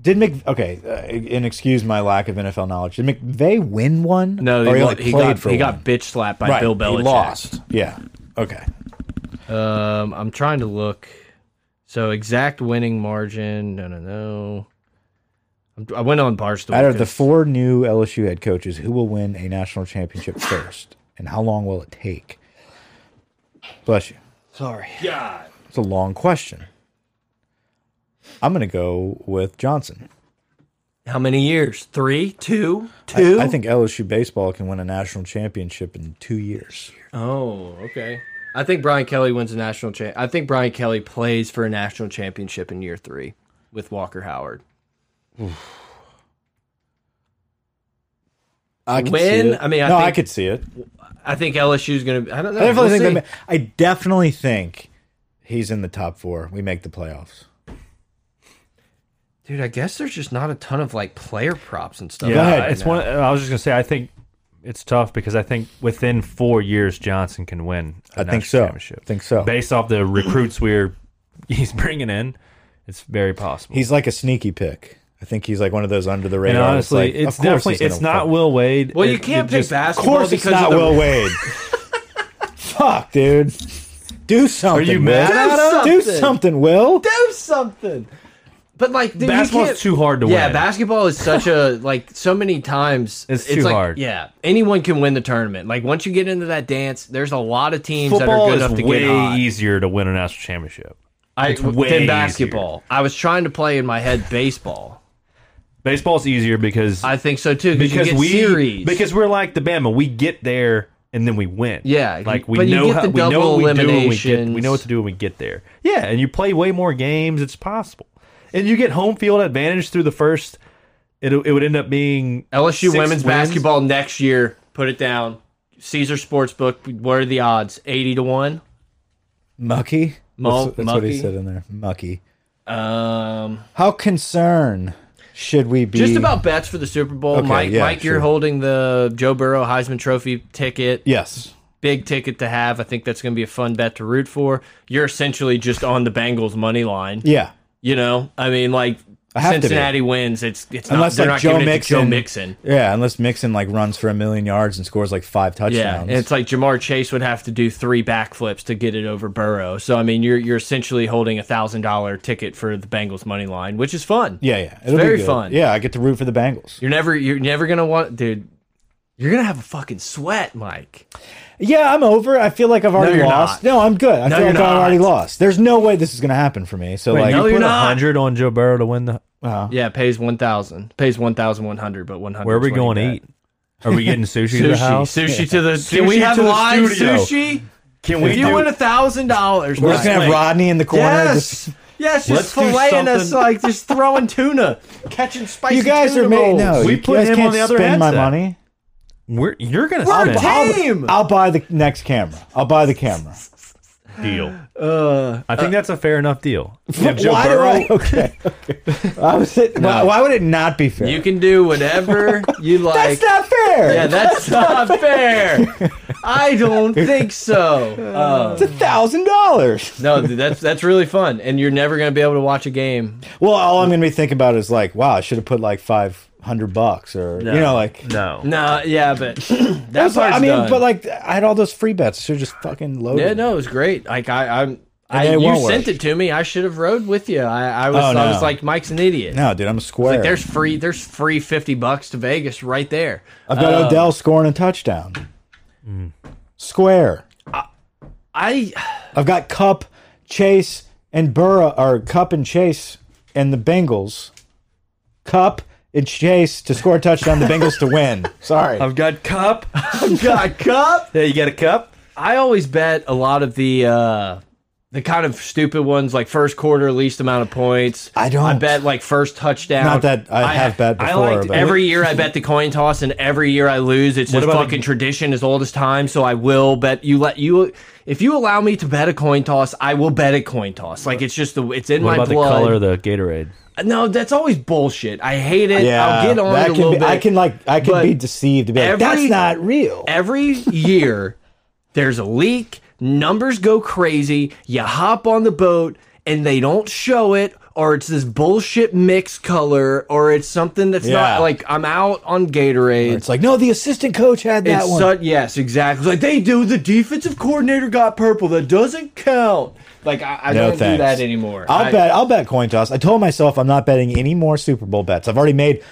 Speaker 1: Did Mc okay? Uh, and excuse my lack of NFL knowledge. Did McVay win one?
Speaker 2: No,
Speaker 1: Or
Speaker 2: he, lo-
Speaker 1: only
Speaker 2: he
Speaker 1: played
Speaker 2: got
Speaker 1: for
Speaker 2: he got
Speaker 1: one?
Speaker 2: bitch slapped by
Speaker 1: right.
Speaker 2: Bill Belichick.
Speaker 1: He lost. Yeah. Okay.
Speaker 2: Um, I'm trying to look. So exact winning margin. No, no, no. I'm, I went on Barstool.
Speaker 1: Out of the
Speaker 2: 'cause-
Speaker 1: four new LSU head coaches, who will win a national championship first, and how long will it take? Bless you.
Speaker 2: Sorry.
Speaker 1: It's a long question. I'm going to go with Johnson.
Speaker 2: How many years? Three, two,
Speaker 1: I-
Speaker 2: two.
Speaker 1: I, think LSU baseball can win a national championship in two years.
Speaker 2: Oh, okay. I think Brian Kelly wins a national cha- I think Brian Kelly plays for a national championship in year three with Walker Howard.
Speaker 1: I could see
Speaker 2: When?
Speaker 1: it.
Speaker 2: I mean, I
Speaker 1: no,
Speaker 2: think-
Speaker 1: I could see it.
Speaker 2: I think LSU's going to. I don't know.
Speaker 1: I definitely
Speaker 2: We'll
Speaker 1: think.
Speaker 2: see.
Speaker 1: They, ma- I definitely think he's in the top four. We make the playoffs.
Speaker 2: Dude, I guess there's just not a ton of like player props and stuff.
Speaker 1: Go
Speaker 2: like
Speaker 1: ahead.
Speaker 2: that
Speaker 3: it's
Speaker 2: now.
Speaker 3: one. I was just gonna say. I think it's tough because I think within four years Johnson can win. I
Speaker 1: I think so.
Speaker 3: Championship.
Speaker 1: Think so.
Speaker 3: Based off the recruits we're he's bringing in, it's very possible.
Speaker 1: He's like a sneaky pick. I think he's like one of those under the
Speaker 3: and
Speaker 1: radar.
Speaker 3: honestly,
Speaker 1: like,
Speaker 3: it's
Speaker 1: of course
Speaker 3: definitely
Speaker 1: he's gonna
Speaker 3: it's not
Speaker 1: fuck.
Speaker 3: Will Wade.
Speaker 2: Well, you
Speaker 3: It-
Speaker 2: can't
Speaker 3: it
Speaker 2: pick
Speaker 3: just-
Speaker 1: Of
Speaker 2: basketball
Speaker 1: course, it's
Speaker 2: because
Speaker 1: not
Speaker 2: of the
Speaker 1: Will Wade. Fuck, dude. Do something.
Speaker 3: you
Speaker 1: Will.
Speaker 3: mad
Speaker 2: at him?
Speaker 1: Do something, Will.
Speaker 2: do something. But like dude, you can't-
Speaker 3: Basketball's too hard to
Speaker 2: yeah,
Speaker 3: win.
Speaker 2: basketball is such a like so many times
Speaker 3: It's too
Speaker 2: like,
Speaker 3: hard.
Speaker 2: Yeah, anyone can win the tournament. Like once you get into that dance, there's a lot of teams
Speaker 3: Football
Speaker 2: that are good
Speaker 3: is
Speaker 2: enough to
Speaker 3: way
Speaker 2: get hot.
Speaker 3: easier to win a national championship.
Speaker 2: I,
Speaker 3: it's way
Speaker 2: than basketball. I was trying to play in my head baseball.
Speaker 3: Baseball's easier because
Speaker 2: I think so too because
Speaker 3: because
Speaker 2: you get
Speaker 3: we
Speaker 2: series.
Speaker 3: because we're like the Bama. We get there and then we win.
Speaker 2: Yeah,
Speaker 3: like we
Speaker 2: but you
Speaker 3: know
Speaker 2: get
Speaker 3: how,
Speaker 2: the
Speaker 3: we know
Speaker 2: double
Speaker 3: what we do when we get we
Speaker 2: eliminations.
Speaker 3: know what to do when we get there. Yeah, and you play way more games. It's possible, and you get home field advantage through the first. It it would end up being
Speaker 2: LSU
Speaker 3: six
Speaker 2: women's
Speaker 3: wins.
Speaker 2: basketball next year. Put it down. Caesar Sportsbook. What are the odds? Eighty to one.
Speaker 1: Mucky.
Speaker 2: Mo-
Speaker 1: that's that's what he
Speaker 2: Mucky.
Speaker 1: said in there. Mucky.
Speaker 2: Um.
Speaker 1: How concerned should we be?
Speaker 2: Just about bets for the Super Bowl,
Speaker 1: Okay,
Speaker 2: Mike.
Speaker 1: yeah,
Speaker 2: Mike, you're
Speaker 1: sure.
Speaker 2: holding the Joe Burrow Heisman Trophy ticket.
Speaker 1: Yes.
Speaker 2: Big ticket to have. I think that's going to be a fun bet to root for. You're essentially just on the Bengals money line.
Speaker 1: Yeah.
Speaker 2: You know, I mean, like
Speaker 1: have to be.
Speaker 2: Cincinnati wins. It's it's
Speaker 1: Unless
Speaker 2: not, they're
Speaker 1: like
Speaker 2: not
Speaker 1: Joe
Speaker 2: giving
Speaker 1: Mixon,
Speaker 2: it to Joe Mixon.
Speaker 1: Yeah, unless Mixon like runs for a million yards and scores like five
Speaker 2: Yeah,
Speaker 1: touchdowns.
Speaker 2: and it's like Jamar Chase would have to do three backflips to get it over Burrow. So I mean, you're you're essentially holding a thousand dollar ticket for the Bengals money line, which is fun.
Speaker 1: yeah, yeah. It's
Speaker 2: very fun.
Speaker 1: Yeah, I get to root for the Bengals.
Speaker 2: You're never you're never gonna want, dude. You're gonna have a fucking sweat, Mike.
Speaker 1: Yeah, I'm over. it. I feel like I've already
Speaker 2: you're
Speaker 1: lost.
Speaker 2: not.
Speaker 1: No, I'm good. I feel
Speaker 2: you're
Speaker 1: like I've already
Speaker 2: not.
Speaker 1: lost. There's no way this is gonna happen for me. So
Speaker 3: Like,
Speaker 1: like,
Speaker 2: no,
Speaker 3: you
Speaker 2: you're
Speaker 3: put
Speaker 2: not.
Speaker 3: hundred on Joe Burrow to win the.
Speaker 2: Yeah, pays one thousand. Pays one thousand one hundred, but one hundred.
Speaker 3: Where are we going to eat? Are we getting sushi, to the
Speaker 2: Sushi,
Speaker 3: house?
Speaker 2: sushi to the. Can
Speaker 3: Sushi
Speaker 2: we have
Speaker 3: to the
Speaker 2: live
Speaker 3: studio.
Speaker 2: sushi?
Speaker 3: Can
Speaker 2: If
Speaker 3: we
Speaker 2: you
Speaker 3: do-
Speaker 2: win a thousand dollars,
Speaker 1: we're just gonna have
Speaker 2: Mike.
Speaker 1: Rodney in the corner. just-
Speaker 2: Yes, yes, just
Speaker 3: Let's do
Speaker 2: filleting us
Speaker 3: something.
Speaker 2: like just throwing tuna, catching spicy.
Speaker 1: you guys
Speaker 2: tuna
Speaker 1: are made.
Speaker 2: rolls.
Speaker 1: No,
Speaker 3: We
Speaker 1: you
Speaker 3: put
Speaker 1: guys
Speaker 3: him
Speaker 1: can't
Speaker 3: on the other
Speaker 1: spend my
Speaker 3: headset.
Speaker 1: money.
Speaker 3: We're, you're gonna
Speaker 2: We're
Speaker 3: spend
Speaker 2: ta-
Speaker 1: I'll,
Speaker 2: Team!
Speaker 1: I'll buy the next camera. I'll buy the camera.
Speaker 3: deal. I think that's a fair enough deal. If Joe
Speaker 1: why do
Speaker 3: Burrow-
Speaker 1: I? Okay. okay. I was, why, why would it not be fair?
Speaker 2: You can do whatever you like.
Speaker 1: That's not fair.
Speaker 2: yeah, that's not fair. I don't think so. Uh,
Speaker 1: it's a thousand dollars.
Speaker 2: no, dude, that's that's really fun, and you're never gonna be able to watch a game.
Speaker 1: Well, all I'm gonna be thinking about is like, wow, I should have put like five hundred bucks, or you know, like
Speaker 3: no.
Speaker 2: No, yeah, but that part's
Speaker 1: I mean,
Speaker 2: done.
Speaker 1: but like, I had all those free bets. Should have just fucking loaded.
Speaker 2: Yeah, no, it was great. Like I, I'm, I
Speaker 1: it
Speaker 2: you
Speaker 1: won't work.
Speaker 2: sent it to me. I should have rode with you. I, I was,
Speaker 1: Oh,
Speaker 2: I was
Speaker 1: no.
Speaker 2: like, Mike's an idiot.
Speaker 1: No, dude, I'm a square.
Speaker 2: Like there's free, there's free fifty bucks to Vegas right there.
Speaker 1: I've got
Speaker 2: Oh.
Speaker 1: Odell scoring a touchdown.
Speaker 2: Mm.
Speaker 1: Square.
Speaker 2: I,
Speaker 1: I've got Cup, Chase, and Burrow, or Cup and Chase, and the Bengals. Cup and Chase to score a touchdown. The Bengals to win. Sorry.
Speaker 3: I've got cup.
Speaker 2: God, cup.
Speaker 3: There, you got a cup.
Speaker 2: I always bet a lot of the, uh the kind of stupid ones, like first quarter least amount of points.
Speaker 1: I don't.
Speaker 2: I bet like first touchdown.
Speaker 1: Not that I, have bet
Speaker 3: I
Speaker 1: before,
Speaker 3: liked
Speaker 1: but
Speaker 2: Every year I bet the coin toss, and every year I lose. It's just
Speaker 3: about
Speaker 2: fucking tradition as old as time. So I will bet you. Let you if you allow me to bet a coin toss, I will bet a coin toss. Like it's just the it's in
Speaker 3: What
Speaker 2: my
Speaker 3: about
Speaker 2: blood.
Speaker 3: the color of the Gatorade?
Speaker 2: No, that's always bullshit. I hate it.
Speaker 1: yeah,
Speaker 2: I'll get on
Speaker 1: that
Speaker 2: it a
Speaker 1: can
Speaker 2: little
Speaker 1: be,
Speaker 2: bit.
Speaker 1: I can like I can
Speaker 2: but
Speaker 1: be deceived. To be like, That's
Speaker 2: every- e
Speaker 1: not real.
Speaker 2: every year there's a leak, numbers go crazy, you hop on the boat and they don't show it or it's this bullshit mix color, or it's something that's
Speaker 1: Yeah.
Speaker 2: not like I'm out on Gatorade.
Speaker 1: It's like, no, the assistant coach had that
Speaker 2: It's
Speaker 1: one.
Speaker 2: su- yes, exactly. Like they do. The defensive coordinator got purple. That doesn't count. Like I, I
Speaker 1: no
Speaker 2: don't
Speaker 1: thanks.
Speaker 2: do that anymore.
Speaker 1: I'll
Speaker 2: I-
Speaker 1: bet. I'll bet coin toss. I told myself I'm not betting any more Super Bowl bets. I've already made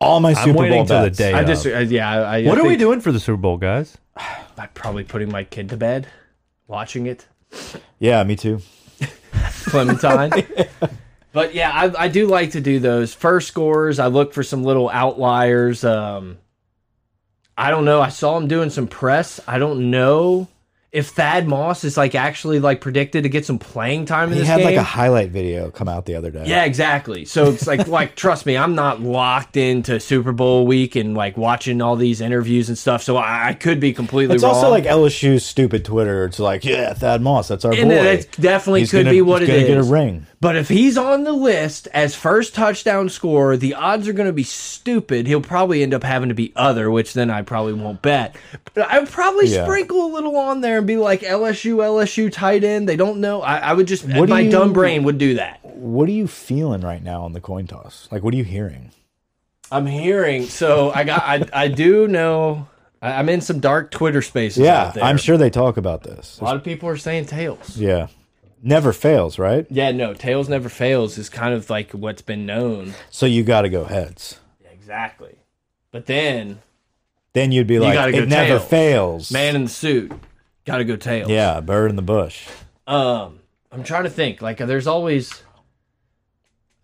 Speaker 1: all my Super
Speaker 3: waiting
Speaker 1: Bowl
Speaker 3: till the
Speaker 1: bets.
Speaker 3: day.
Speaker 2: I
Speaker 3: of.
Speaker 2: just uh, yeah. I, I
Speaker 3: What are we
Speaker 2: think
Speaker 3: doing for the Super Bowl, guys?
Speaker 2: I'm probably putting my kid to bed, watching it.
Speaker 1: Yeah, me too.
Speaker 2: Clementine. but yeah, I, I do like to do those first scores. I look for some little outliers. Um, I don't know. I saw him doing some press. I don't know if Thad Moss is like actually like predicted to get some playing time in
Speaker 1: He
Speaker 2: this
Speaker 1: had
Speaker 2: game.
Speaker 1: like a highlight video come out the other day.
Speaker 2: yeah, exactly. So it's like like trust me, I'm not locked into Super Bowl week and like watching all these interviews and stuff. So I, I could be completely
Speaker 1: It's
Speaker 2: wrong.
Speaker 1: also like LSU's stupid Twitter. It's like, yeah, Thad Moss, that's our
Speaker 2: And
Speaker 1: boy.
Speaker 2: it definitely
Speaker 1: He's
Speaker 2: could
Speaker 1: gonna-
Speaker 2: be what
Speaker 1: he's
Speaker 2: it
Speaker 1: gonna get a
Speaker 2: is.
Speaker 1: ring.
Speaker 2: But if he's on the list as first touchdown scorer, the odds are going to be stupid. He'll probably end up having to be other, which then I probably won't bet. But I would probably
Speaker 1: Yeah.
Speaker 2: sprinkle a little on there and be like LSU, LSU tight end. They don't know. I, I would just
Speaker 1: What do
Speaker 2: my
Speaker 1: you-
Speaker 2: dumb brain would do that.
Speaker 1: What are you feeling right now on the coin toss? Like, what are you hearing?
Speaker 2: I'm hearing. So I got. I I do know. I, I'm in some dark Twitter spaces.
Speaker 1: Yeah,
Speaker 2: out there.
Speaker 1: I'm sure they talk about this.
Speaker 2: a lot of people are saying tails.
Speaker 1: Yeah, never fails, right?
Speaker 2: Yeah, no, tails never fails is kind of like what's been known.
Speaker 1: So you got to go heads.
Speaker 2: Exactly. But then
Speaker 1: Then you'd be like,
Speaker 2: gotta go
Speaker 1: it never
Speaker 2: tails.
Speaker 1: fails.
Speaker 2: man in the suit, gotta go tails.
Speaker 1: yeah, bird in the bush.
Speaker 2: Um, I'm trying to think. Like, there's always.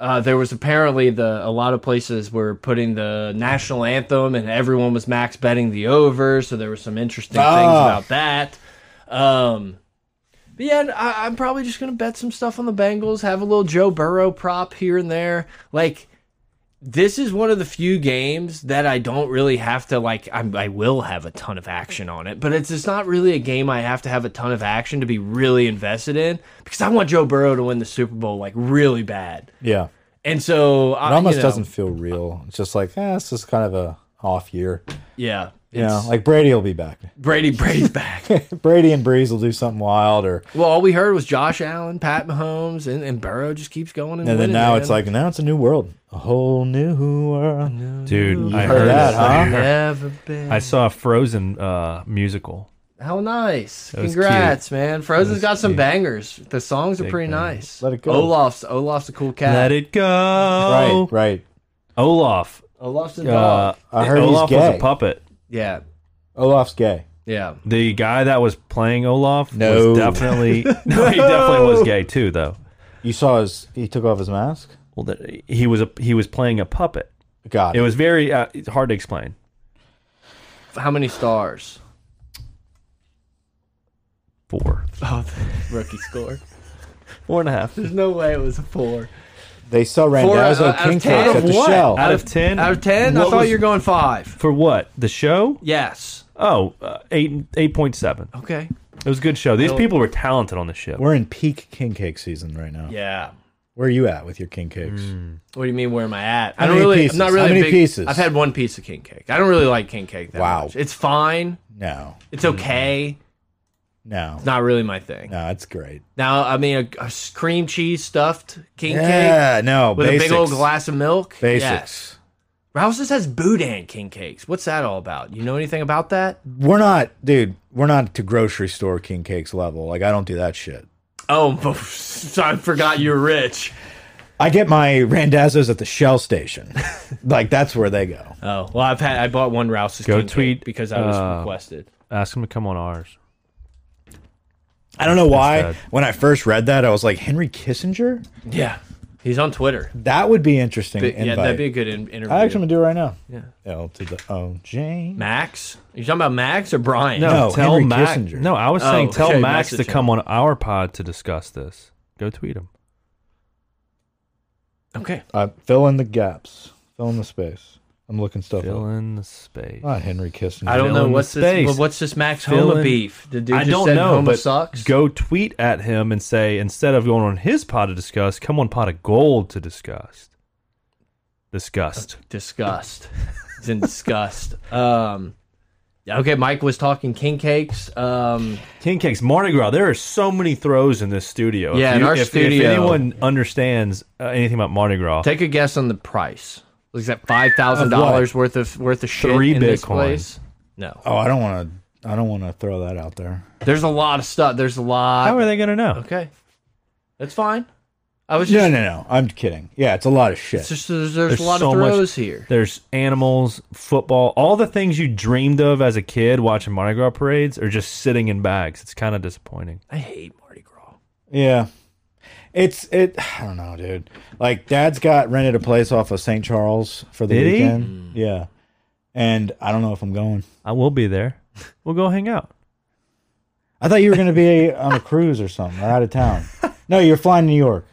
Speaker 2: Uh, there was apparently the a lot of places were putting the national anthem and everyone was max betting the over, so there were some interesting
Speaker 1: Ah.
Speaker 2: things about that. Um, but yeah, I, I'm probably just gonna bet some stuff on the Bengals, have a little Joe Burrow prop here and there. Like, this is one of the few games that I don't really have to like. I, I will have a ton of action on it, but it's it's not really a game I have to have a ton of action to be really invested in because I want Joe Burrow to win the Super Bowl like really bad,
Speaker 1: Yeah,
Speaker 2: and so I,
Speaker 1: it almost
Speaker 2: you know,
Speaker 1: doesn't feel real. It's just like, eh, this is kind of a off year.
Speaker 2: Yeah,
Speaker 1: Yeah,
Speaker 2: it's-
Speaker 1: like Brady will be back.
Speaker 2: Brady Brady's back.
Speaker 1: Brady and Breeze will do something wild, or
Speaker 2: well, all we heard was Josh Allen, Pat Mahomes, and, and Burrow just keeps going and,
Speaker 1: and then
Speaker 2: winning,
Speaker 1: now
Speaker 2: man.
Speaker 1: it's like now it's a new world, a whole new world.
Speaker 3: Dude, I
Speaker 1: heard
Speaker 3: heard
Speaker 1: that,
Speaker 3: that,
Speaker 1: huh?
Speaker 2: never been.
Speaker 3: I saw a Frozen uh, musical.
Speaker 2: How nice!
Speaker 3: was
Speaker 2: Congrats, man. Frozen's
Speaker 3: was
Speaker 2: got some
Speaker 3: cute.
Speaker 2: bangers. The songs are pretty nice.
Speaker 1: Let it go.
Speaker 2: Olaf's Olaf's a cool cat.
Speaker 3: Let it go.
Speaker 1: Right, right.
Speaker 3: Olaf.
Speaker 2: Olaf's a
Speaker 3: Uh,
Speaker 2: dog.
Speaker 1: I heard he's
Speaker 3: Olaf was
Speaker 1: gay.
Speaker 3: a puppet.
Speaker 2: Yeah,
Speaker 1: Olaf's gay.
Speaker 2: yeah.
Speaker 3: The guy that was playing Olaf
Speaker 1: No.
Speaker 3: was definitely no. He definitely was gay too, though.
Speaker 1: You saw his. He took off his mask.
Speaker 3: Well, that, he was a, he was playing a puppet.
Speaker 1: God,
Speaker 3: It was very uh, it's hard to explain.
Speaker 2: How many stars?
Speaker 3: Four,
Speaker 2: Oh, rookie score.
Speaker 3: four and a half.
Speaker 2: There's no way it was a four.
Speaker 1: they saw Randazzo
Speaker 2: out- out of ten?
Speaker 1: King Cakes
Speaker 2: Out
Speaker 1: at
Speaker 2: of
Speaker 1: the
Speaker 2: what?
Speaker 1: shell.
Speaker 3: Out of ten.
Speaker 2: Out of ten, I
Speaker 3: What
Speaker 2: thought
Speaker 3: was-
Speaker 2: you were going five.
Speaker 3: for what the show?
Speaker 2: Yes.
Speaker 3: Oh, uh, eight eight point seven.
Speaker 2: Okay.
Speaker 3: It was a good show. These people were talented on the ship.
Speaker 1: We're in peak king cake season right now.
Speaker 2: Yeah. Hmm.
Speaker 1: Where are you at with your king cakes?
Speaker 2: What do you mean? Where am I at? I
Speaker 1: How
Speaker 2: don't
Speaker 1: many
Speaker 2: really.
Speaker 1: pieces?
Speaker 2: I'm not
Speaker 1: How
Speaker 2: really. a
Speaker 1: many
Speaker 2: big,
Speaker 1: pieces?
Speaker 2: I've had one piece of king cake. I don't really like king cake. That
Speaker 1: Wow.
Speaker 2: much. It's fine.
Speaker 1: No,
Speaker 2: It's okay.
Speaker 1: no,
Speaker 2: Not really my thing.
Speaker 1: no. It's great.
Speaker 2: Now, I mean, a, a s- cream cheese stuffed king cake
Speaker 1: Yeah, no.
Speaker 2: with
Speaker 1: basics.
Speaker 2: a big old glass of milk.
Speaker 1: Basics.
Speaker 2: Yes. Rouse's has boudin king cakes. What's that all about? You know anything about that?
Speaker 1: We're not, dude. We're not to grocery store king cakes level. Like I don't do that shit.
Speaker 2: Oh, I forgot you're rich.
Speaker 1: I get my Randazzos at the Shell station. like that's where they go.
Speaker 2: Oh well, I've had I bought one Rouse's.
Speaker 3: Go
Speaker 2: king cake
Speaker 3: tweet,
Speaker 2: because I was
Speaker 3: uh,
Speaker 2: requested.
Speaker 3: Ask him to come on ours.
Speaker 1: I don't know why.
Speaker 3: sad.
Speaker 1: When I first read that, I was like, Henry Kissinger.
Speaker 2: Yeah, he's on Twitter.
Speaker 1: That would be interesting.
Speaker 2: But, yeah,
Speaker 1: invite.
Speaker 2: that'd be a good in interview.
Speaker 1: I actually am gonna do it right now. Yeah. L to the O J.
Speaker 2: Max, are you talking about Max or Brian?
Speaker 1: No,
Speaker 3: tell
Speaker 1: Henry
Speaker 3: Max.
Speaker 1: Kissinger.
Speaker 3: No, I was
Speaker 2: Oh,
Speaker 3: saying tell
Speaker 2: okay,
Speaker 3: Max
Speaker 2: message
Speaker 3: to
Speaker 2: him.
Speaker 3: come on our pod to discuss this. Go tweet him.
Speaker 2: Okay.
Speaker 1: Uh, fill in the gaps. Fill in the space. I'm looking stuff
Speaker 3: Fill
Speaker 1: up.
Speaker 3: in the space.
Speaker 1: Not Henry Kissinger.
Speaker 2: I don't
Speaker 3: Fill
Speaker 2: know
Speaker 3: in
Speaker 2: what's
Speaker 3: the
Speaker 2: this.
Speaker 3: space.
Speaker 2: well, What's this Max
Speaker 3: Fill
Speaker 2: Homa
Speaker 3: in-
Speaker 2: beef? The dude
Speaker 3: I
Speaker 2: just
Speaker 3: don't
Speaker 2: said
Speaker 3: know,
Speaker 2: Homa
Speaker 3: but
Speaker 2: sucks.
Speaker 3: go tweet at him and say instead of going on his pod to discuss, come on pod of gold to discuss. Disgust.
Speaker 2: disgust. He's in disgust. Um, Okay, Mike was talking king cakes. Um,
Speaker 3: King Cakes, Mardi Gras. There are so many throws in this studio.
Speaker 2: Yeah,
Speaker 3: if
Speaker 2: in our
Speaker 3: if,
Speaker 2: studio-
Speaker 3: If anyone understands uh, anything about Mardi Gras,
Speaker 2: take a guess on the price. Was that five thousand dollars worth of worth of shit
Speaker 3: Three
Speaker 2: in this
Speaker 3: Bitcoin.
Speaker 2: place? No,
Speaker 1: Oh, I don't want to. I don't want to throw that out there.
Speaker 2: there's a lot of stuff. There's a lot.
Speaker 3: how are they going to know?
Speaker 2: Okay, that's fine. I was
Speaker 1: No,
Speaker 2: just
Speaker 1: no, no. I'm kidding. Yeah, it's a lot of
Speaker 2: it's
Speaker 1: shit.
Speaker 2: just there's, there's, a lot of
Speaker 3: much-
Speaker 2: throws here.
Speaker 3: There's animals, football, all the things you dreamed of as a kid watching Mardi Gras parades are just sitting in bags. It's kind of disappointing.
Speaker 2: I hate Mardi Gras.
Speaker 1: Yeah. It's it. I don't know, dude. Like, Dad's got rented a place off of St. Charles for the
Speaker 3: Did he? Hmm.
Speaker 1: weekend. Yeah, and I don't know if I'm going.
Speaker 3: I will be there. We'll go hang out.
Speaker 1: I thought you were going to be on a cruise or something, or out of town. No, you're flying to New York.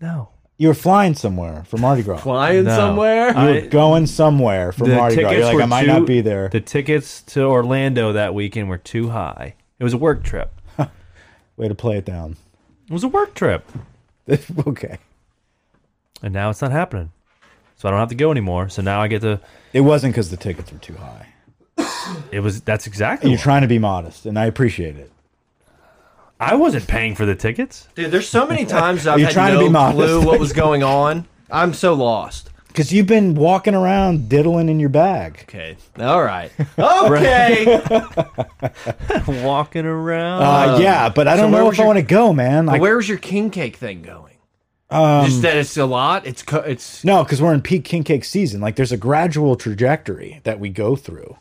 Speaker 3: No.
Speaker 1: You were flying somewhere for Mardi Gras.
Speaker 2: Flying
Speaker 3: No.
Speaker 2: somewhere.
Speaker 1: You were
Speaker 3: I-
Speaker 1: going somewhere for
Speaker 3: the
Speaker 1: Mardi Gras.
Speaker 3: tickets
Speaker 1: You're like,
Speaker 3: were
Speaker 1: I might
Speaker 3: too-
Speaker 1: not be there.
Speaker 3: The tickets to Orlando that weekend were too high. It was a work trip.
Speaker 1: Way to play it down.
Speaker 3: It was a work trip.
Speaker 1: okay.
Speaker 3: And now it's not happening. So I don't have to go anymore. So now I get to
Speaker 1: It wasn't because the tickets were too high.
Speaker 3: it was that's exactly
Speaker 1: You're
Speaker 3: what-
Speaker 1: trying to be modest, and I appreciate it.
Speaker 3: I wasn't paying for the tickets.
Speaker 2: Dude, there's so many times I've
Speaker 1: You're
Speaker 2: had
Speaker 1: trying to
Speaker 2: no
Speaker 1: be modest.
Speaker 2: clue what was going on. I'm so lost.
Speaker 1: Because you've been walking around diddling in your bag.
Speaker 2: Okay. All right. Okay.
Speaker 3: Walking around.
Speaker 1: Uh, yeah, but I don't
Speaker 2: where
Speaker 1: know
Speaker 2: was
Speaker 1: if I
Speaker 2: your-
Speaker 1: want to go, man. Like,
Speaker 2: Where was your king cake thing going? Um, Just that it's a lot. It's co it's
Speaker 1: no, because we're in peak king cake season. Like, there's a gradual trajectory that we go through.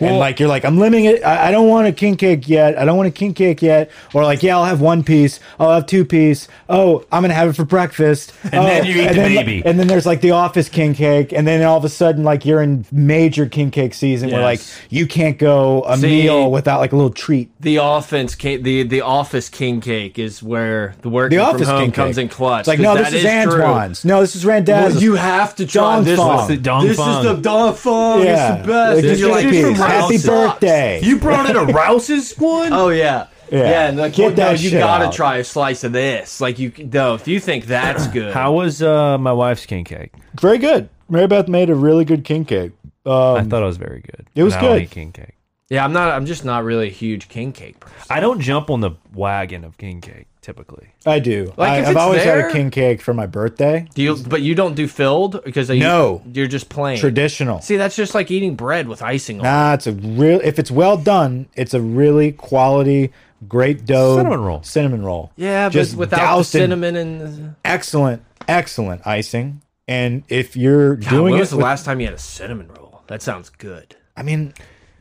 Speaker 1: and like you're like I'm limiting it. I, I don't want a king cake yet. I don't want a king cake yet. Or like yeah, I'll have one piece. I'll have two piece. Oh, I'm gonna have it for breakfast. Oh, And
Speaker 3: then you eat the baby.
Speaker 1: and then there's like the office king cake. And then all of a sudden like you're in major king cake season where like
Speaker 3: Yes.
Speaker 1: you can't go a
Speaker 2: See-
Speaker 1: meal without like a little treat.
Speaker 2: the offense. King, the the office king cake is where the work
Speaker 1: The
Speaker 2: from
Speaker 1: office
Speaker 2: home
Speaker 1: king
Speaker 2: comes
Speaker 1: cake.
Speaker 2: in clutch.
Speaker 1: It's like
Speaker 2: 'cause
Speaker 1: no,
Speaker 2: that
Speaker 1: this is,
Speaker 2: true.
Speaker 1: Antoine's. No, this is Randaz's.
Speaker 2: You have to try
Speaker 1: Dong
Speaker 2: this.
Speaker 1: Fong.
Speaker 2: one.
Speaker 1: What's it,
Speaker 3: Dong
Speaker 2: this
Speaker 3: Fong?
Speaker 2: is the Dong Fong. It's the best.
Speaker 1: Like,
Speaker 2: And
Speaker 1: this
Speaker 2: you're
Speaker 1: is
Speaker 2: like,
Speaker 1: a
Speaker 2: "This
Speaker 1: piece. Happy
Speaker 2: sucks."
Speaker 1: birthday.
Speaker 3: You brought in a Rouse's one?
Speaker 2: Oh yeah. Yeah, and like,
Speaker 1: Get
Speaker 2: well, no,
Speaker 1: that
Speaker 2: you
Speaker 1: shit
Speaker 2: gotta
Speaker 1: out.
Speaker 2: try a slice of this. Like you, no, if you think that's good,
Speaker 3: How was uh, my wife's king cake?
Speaker 1: Very good. Mary Beth made a really good king cake. Um,
Speaker 3: I thought it was very good.
Speaker 1: It was
Speaker 3: And I don't
Speaker 1: good.
Speaker 3: eat king cake.
Speaker 2: Yeah, I'm not. I'm just not really a huge king cake person.
Speaker 3: I don't jump on the wagon of king cake typically.
Speaker 1: I do.
Speaker 2: Like,
Speaker 1: I,
Speaker 2: if
Speaker 1: I've
Speaker 2: it's
Speaker 1: always
Speaker 2: there-
Speaker 1: had a king cake for my birthday.
Speaker 2: Do you? But you don't do filled because you,
Speaker 1: No.
Speaker 2: you're just plain
Speaker 1: Traditional.
Speaker 2: See, that's just like eating bread with icing on. it.
Speaker 1: Nah, it's a real. If it's well done, it's a really quality, great dough
Speaker 3: Cinnamon roll.
Speaker 1: Cinnamon roll.
Speaker 2: Yeah,
Speaker 1: just
Speaker 2: but without the
Speaker 1: doused in
Speaker 2: cinnamon and the...
Speaker 1: excellent, excellent icing. And if you're
Speaker 2: God,
Speaker 1: doing
Speaker 2: when
Speaker 1: it,
Speaker 2: was the
Speaker 1: with-
Speaker 2: last time you had a cinnamon roll? That sounds good.
Speaker 1: I mean,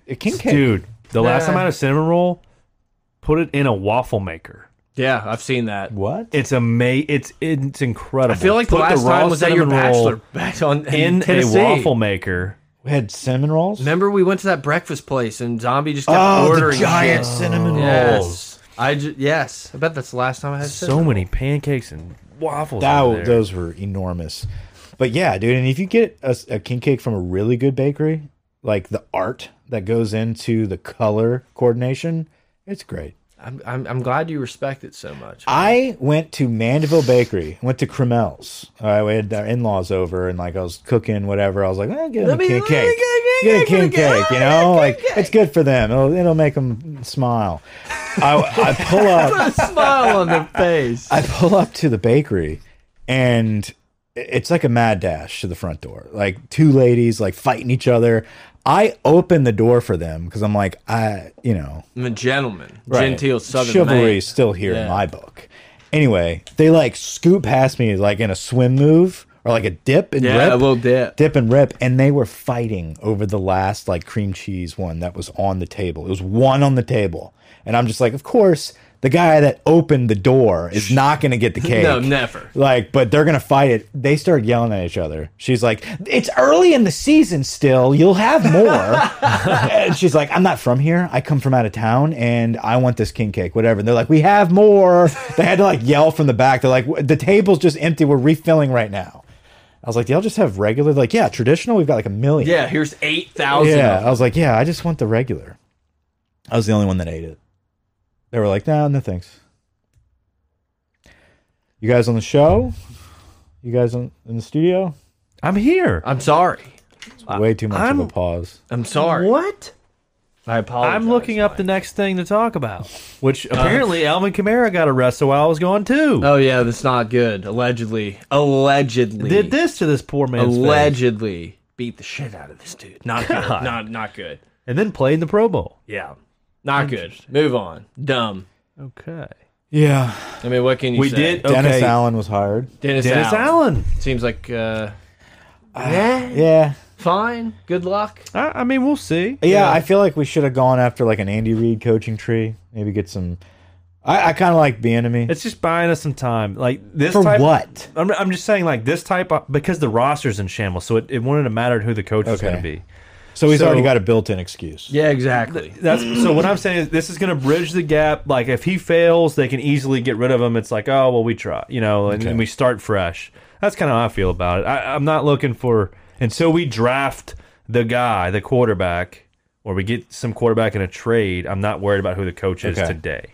Speaker 1: a king cake.
Speaker 3: Dude, the last time
Speaker 2: Nah.
Speaker 3: I had a cinnamon roll, put it in a waffle maker.
Speaker 2: Yeah, I've seen that.
Speaker 1: what?
Speaker 3: It's ama- it's it's incredible.
Speaker 2: I feel like the
Speaker 3: Put
Speaker 2: last
Speaker 3: raw
Speaker 2: time was at your
Speaker 3: cinnamon roll
Speaker 2: bachelor back on in,
Speaker 3: in
Speaker 2: Tennessee.
Speaker 3: a waffle maker.
Speaker 1: We had cinnamon rolls.
Speaker 2: Remember, we went to that breakfast place and Zombie just kept
Speaker 1: oh, the
Speaker 2: ordering
Speaker 1: giant
Speaker 2: shit.
Speaker 1: cinnamon rolls.
Speaker 2: Yes, I ju- yes, I bet that's the last time I had cinnamon.
Speaker 3: So many pancakes and waffles.
Speaker 1: That
Speaker 3: over there.
Speaker 1: those were enormous. But yeah, dude, and if you get a, a king cake from a really good bakery, like the art that goes into the color coordination, it's great.
Speaker 2: I'm, I'm I'm glad you respect it so much.
Speaker 1: I went to Mandeville Bakery, went to Cremel's. All right, we had our in laws over, and like I was cooking, whatever. I was like, eh, get
Speaker 2: Let
Speaker 1: them a
Speaker 2: me-
Speaker 1: king
Speaker 2: let me
Speaker 1: cake.
Speaker 2: get
Speaker 1: Get
Speaker 2: a king
Speaker 1: a king
Speaker 2: cake.
Speaker 1: cake, you know? Like, it's good for them. It'll, it'll make them smile. I, I pull up.
Speaker 2: smile on their face.
Speaker 1: I pull up to the bakery and it's like a mad dash to the front door. Like two ladies like fighting each other. I open the door for them because I'm like, I, you know,
Speaker 2: I'm a gentleman,
Speaker 1: right.
Speaker 2: genteel Southern
Speaker 1: chivalry
Speaker 2: man.
Speaker 1: is still here
Speaker 2: Yeah.
Speaker 1: in my book. Anyway, they like scoot past me like in a swim move or like a dip and
Speaker 2: Yeah,
Speaker 1: rip,
Speaker 2: a little dip.
Speaker 1: dip and rip, and they were fighting over the last like cream cheese one that was on the table. It was one on the table, and I'm just like, of course, the guy that opened the door is not going to get the cake.
Speaker 2: No, never.
Speaker 1: Like, but they're gonna fight it. They start yelling at each other. She's like, "It's early in the season still. You'll have more." and she's like, "I'm not from here. I come from out of town, and I want this king cake, whatever." And they're like, "We have more." They had to like yell from the back. They're like, "The table's just empty. We're refilling right now." I was like, "Y'all just have regular?" They're like, yeah, traditional. We've got like a million.
Speaker 2: Yeah, here's eight thousand.
Speaker 1: Yeah, I was like, yeah, I just want the regular. I was the only one that ate it. They were like, nah, no thanks. You guys on the show? You guys on, in the studio?
Speaker 3: I'm here.
Speaker 2: I'm sorry.
Speaker 1: Way too much
Speaker 3: I'm-
Speaker 1: of a pause.
Speaker 2: I'm sorry. Oh,
Speaker 3: What?
Speaker 2: I apologize.
Speaker 3: I'm looking up the
Speaker 2: Mike.
Speaker 3: next thing to talk about, which apparently Alvin Kamara got arrested while I was gone too.
Speaker 2: Uh, Oh yeah, that's not good. Allegedly, allegedly
Speaker 3: Did this to this poor man's face,
Speaker 2: allegedly beat the shit out of this dude. Not good.
Speaker 3: God.
Speaker 2: Not not good.
Speaker 3: and then played in the Pro Bowl.
Speaker 2: Yeah, not good. Move on. Dumb.
Speaker 3: Okay,
Speaker 1: Yeah.
Speaker 2: I mean, what can you
Speaker 3: we
Speaker 2: say?
Speaker 3: did. Okay,
Speaker 1: Dennis Allen was hired.
Speaker 2: Dennis,
Speaker 3: Dennis
Speaker 2: Allen.
Speaker 3: Allen.
Speaker 2: Seems like uh,
Speaker 1: Ah. Yeah.
Speaker 2: fine. Good luck.
Speaker 3: I, I mean, we'll see.
Speaker 1: Yeah, I feel like we should have gone after like an Andy Reid coaching tree. Maybe get some. I, I kind of like the enemy.
Speaker 3: It's just buying us some time. Like this
Speaker 1: For
Speaker 3: type,
Speaker 1: what?
Speaker 3: I'm, I'm just saying, like this type, of, because the roster's in shambles, so it, it wouldn't have mattered who the coach was
Speaker 1: Okay.
Speaker 3: going to be.
Speaker 1: So he's
Speaker 3: so-
Speaker 1: already got a built-in excuse.
Speaker 2: Yeah, exactly.
Speaker 3: That's so. What I'm saying is, this is going to bridge the gap. Like, if he fails, they can easily get rid of him. It's like, oh well, we try, you know, and, and we start fresh. That's kind of how I feel about it. I, I'm not looking for until we draft the guy, the quarterback, or we get some quarterback in a trade. I'm not worried about who the coach is
Speaker 1: Okay.
Speaker 3: today.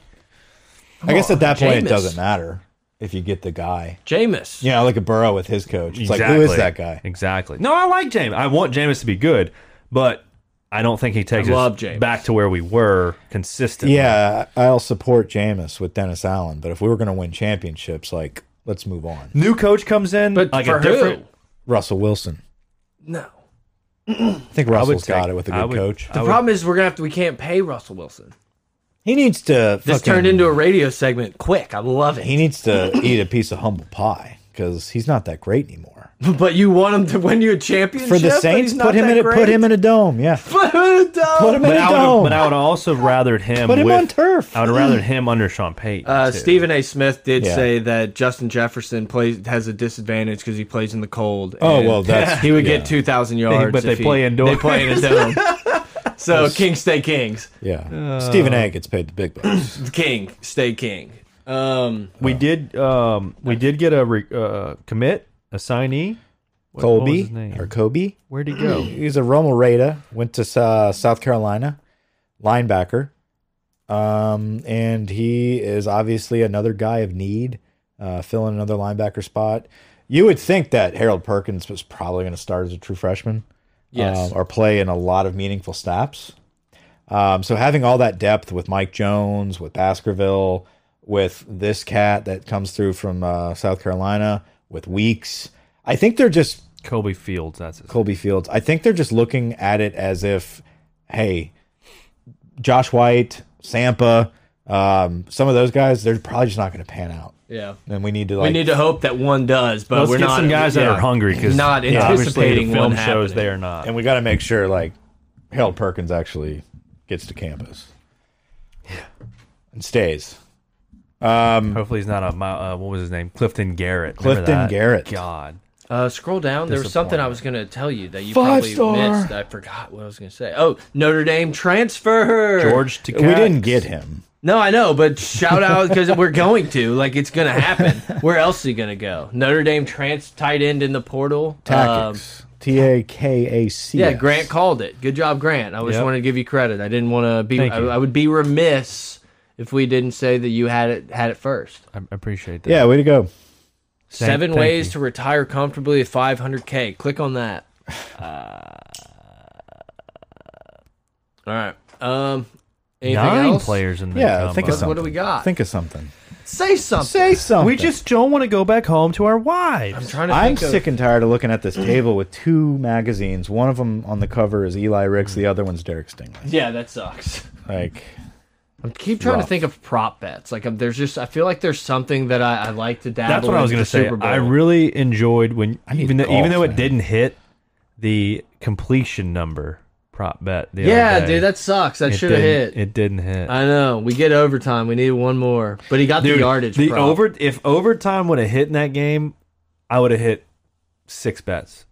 Speaker 1: I guess at that point
Speaker 2: Jameis.
Speaker 1: it doesn't matter if you get the guy.
Speaker 2: Jameis.
Speaker 1: You know, like a Burrow with his coach. It's like who is that guy?
Speaker 3: Exactly. No, I like James. I want James to be good, but I don't think he takes
Speaker 2: I love
Speaker 3: us
Speaker 2: Jameis.
Speaker 3: back to where we were consistently.
Speaker 1: Yeah, I'll support Jameis with Dennis Allen, but if we were going to win championships, like let's move on.
Speaker 3: New coach comes in,
Speaker 2: But
Speaker 3: like
Speaker 2: for
Speaker 3: a different.
Speaker 2: who?
Speaker 1: Russell Wilson.
Speaker 2: No.
Speaker 1: I think Russell's
Speaker 3: take-
Speaker 1: got it with a
Speaker 3: I
Speaker 1: good
Speaker 3: would-
Speaker 1: coach.
Speaker 2: The problem is we're gonna have to. We can't pay Russell Wilson.
Speaker 1: He needs to.
Speaker 2: This
Speaker 1: fucking-
Speaker 2: turned into a radio segment. Quick, I love it.
Speaker 1: He needs to eat a piece of humble pie because he's not that great anymore.
Speaker 2: But you want him to win you a championship
Speaker 1: For the
Speaker 2: but
Speaker 1: Saints,
Speaker 2: he's not
Speaker 1: put him
Speaker 2: that
Speaker 1: in a,
Speaker 2: great?
Speaker 1: put him in a dome. Yeah,
Speaker 2: Put him in a dome.
Speaker 1: put him in
Speaker 3: But
Speaker 1: a
Speaker 3: I, would,
Speaker 1: dome.
Speaker 3: but I would also rathered him.
Speaker 1: Put him
Speaker 3: with-
Speaker 1: on turf.
Speaker 3: I would rather him under Sean Payton.
Speaker 2: Uh,
Speaker 3: too.
Speaker 2: Stephen A. Smith did
Speaker 1: Yeah.
Speaker 2: say that Justin Jefferson plays has a disadvantage because he plays in the cold.
Speaker 1: Oh,
Speaker 2: and
Speaker 1: well, that's-
Speaker 2: he would
Speaker 1: yeah.
Speaker 2: get two thousand yards,
Speaker 3: but they
Speaker 2: if he-
Speaker 3: play indoors.
Speaker 2: They play in a dome. so king stay kings,
Speaker 1: yeah, Stephen A. gets paid the big bucks.
Speaker 2: king stay king. Um,
Speaker 3: we did. Um, we did get a re, uh, commit, a signee. What- what was
Speaker 1: Colby
Speaker 3: his name?
Speaker 1: or Kobe?
Speaker 3: Where'd he go?
Speaker 1: He's a Romo Rada. Went to uh, South Carolina, linebacker, um, and he is obviously another guy of need, uh, filling another linebacker spot. You would think that Harold Perkins was probably going to start as a true freshman.
Speaker 2: yes,
Speaker 1: um, or play in a lot of meaningful snaps. Um, so having all that depth with Mike Jones, with Baskerville, with this cat that comes through from uh, South Carolina, with Weeks, I think they're just
Speaker 3: Kobe Fields. That's his.
Speaker 1: Colby Fields. I think they're just looking at it as if, hey, Josh White, Sampa, um, some of those guys, they're probably just not going to pan out,
Speaker 2: yeah.
Speaker 1: and we need to
Speaker 2: We
Speaker 1: like
Speaker 2: need to hope that one does, but
Speaker 3: Let's
Speaker 2: we're
Speaker 3: get
Speaker 2: not
Speaker 3: some guys that
Speaker 2: yeah,
Speaker 3: are hungry because
Speaker 2: not
Speaker 3: obviously
Speaker 2: anticipating
Speaker 3: the film
Speaker 2: one
Speaker 3: shows
Speaker 2: happening.
Speaker 3: they are not.
Speaker 1: and we got to make sure like Harold Perkins actually gets to campus and stays.
Speaker 3: Hopefully, he's not a mile- uh, what was his name? Clifton Garrett. Remember
Speaker 1: Clifton
Speaker 3: that?
Speaker 1: Garrett.
Speaker 3: God,
Speaker 2: Uh, scroll down. There was something I was going to tell you that you
Speaker 1: Five
Speaker 2: probably
Speaker 1: star.
Speaker 2: missed. I forgot what I was going to say. Oh, Notre Dame transfer.
Speaker 3: George. Takach.
Speaker 1: We didn't get him.
Speaker 2: No, I know, but shout out because we're going to. Like, it's going to happen. Where else are you going to go? Notre Dame trans tight end in the portal. Um,
Speaker 1: Tactics. T A K A C.
Speaker 2: yeah, Grant called it. Good job, Grant. I just
Speaker 3: Yep.
Speaker 2: wanted to give you credit. I didn't want to be.
Speaker 3: Thank
Speaker 2: I,
Speaker 3: you.
Speaker 2: I would be remiss if we didn't say that you had it had it first.
Speaker 3: I I appreciate that.
Speaker 1: Yeah, way to go.
Speaker 3: Thank-
Speaker 2: Seven
Speaker 3: thank
Speaker 2: ways
Speaker 3: you.
Speaker 2: to retire comfortably at 500k. Click on that. Uh, All right. Um. Anything
Speaker 3: nine
Speaker 2: else?
Speaker 3: players in the
Speaker 1: Yeah, think of
Speaker 2: What
Speaker 1: something.
Speaker 2: do we got?
Speaker 1: Think of something.
Speaker 2: Say something.
Speaker 1: Say something.
Speaker 3: We just don't want to go back home to our wives.
Speaker 2: I'm trying to.
Speaker 1: I'm
Speaker 2: think of-
Speaker 1: sick and tired of looking at this table with two magazines. One of them on the cover is Eli Ricks. The other one's Derek Stingley.
Speaker 2: Yeah, that sucks.
Speaker 1: Like,
Speaker 2: I keep trying to
Speaker 1: rough.
Speaker 2: think of prop bets. Like, um, there's just, I feel like there's something that I, I like to dabble.
Speaker 3: That's what I was
Speaker 2: going to
Speaker 3: gonna say. I really enjoyed when
Speaker 1: need
Speaker 3: even though,
Speaker 1: golf,
Speaker 3: even though it
Speaker 1: man.
Speaker 3: didn't hit the completion number prop bet. The
Speaker 2: yeah,
Speaker 3: other day,
Speaker 2: dude, that sucks. That
Speaker 3: It
Speaker 2: should have
Speaker 3: didn't-
Speaker 2: hit.
Speaker 3: It didn't hit.
Speaker 2: I know. We get overtime. We need one more, but he got
Speaker 3: Dude,
Speaker 2: the yardage.
Speaker 3: The
Speaker 2: prop.
Speaker 3: over if overtime would have hit in that game, I would have hit six bets.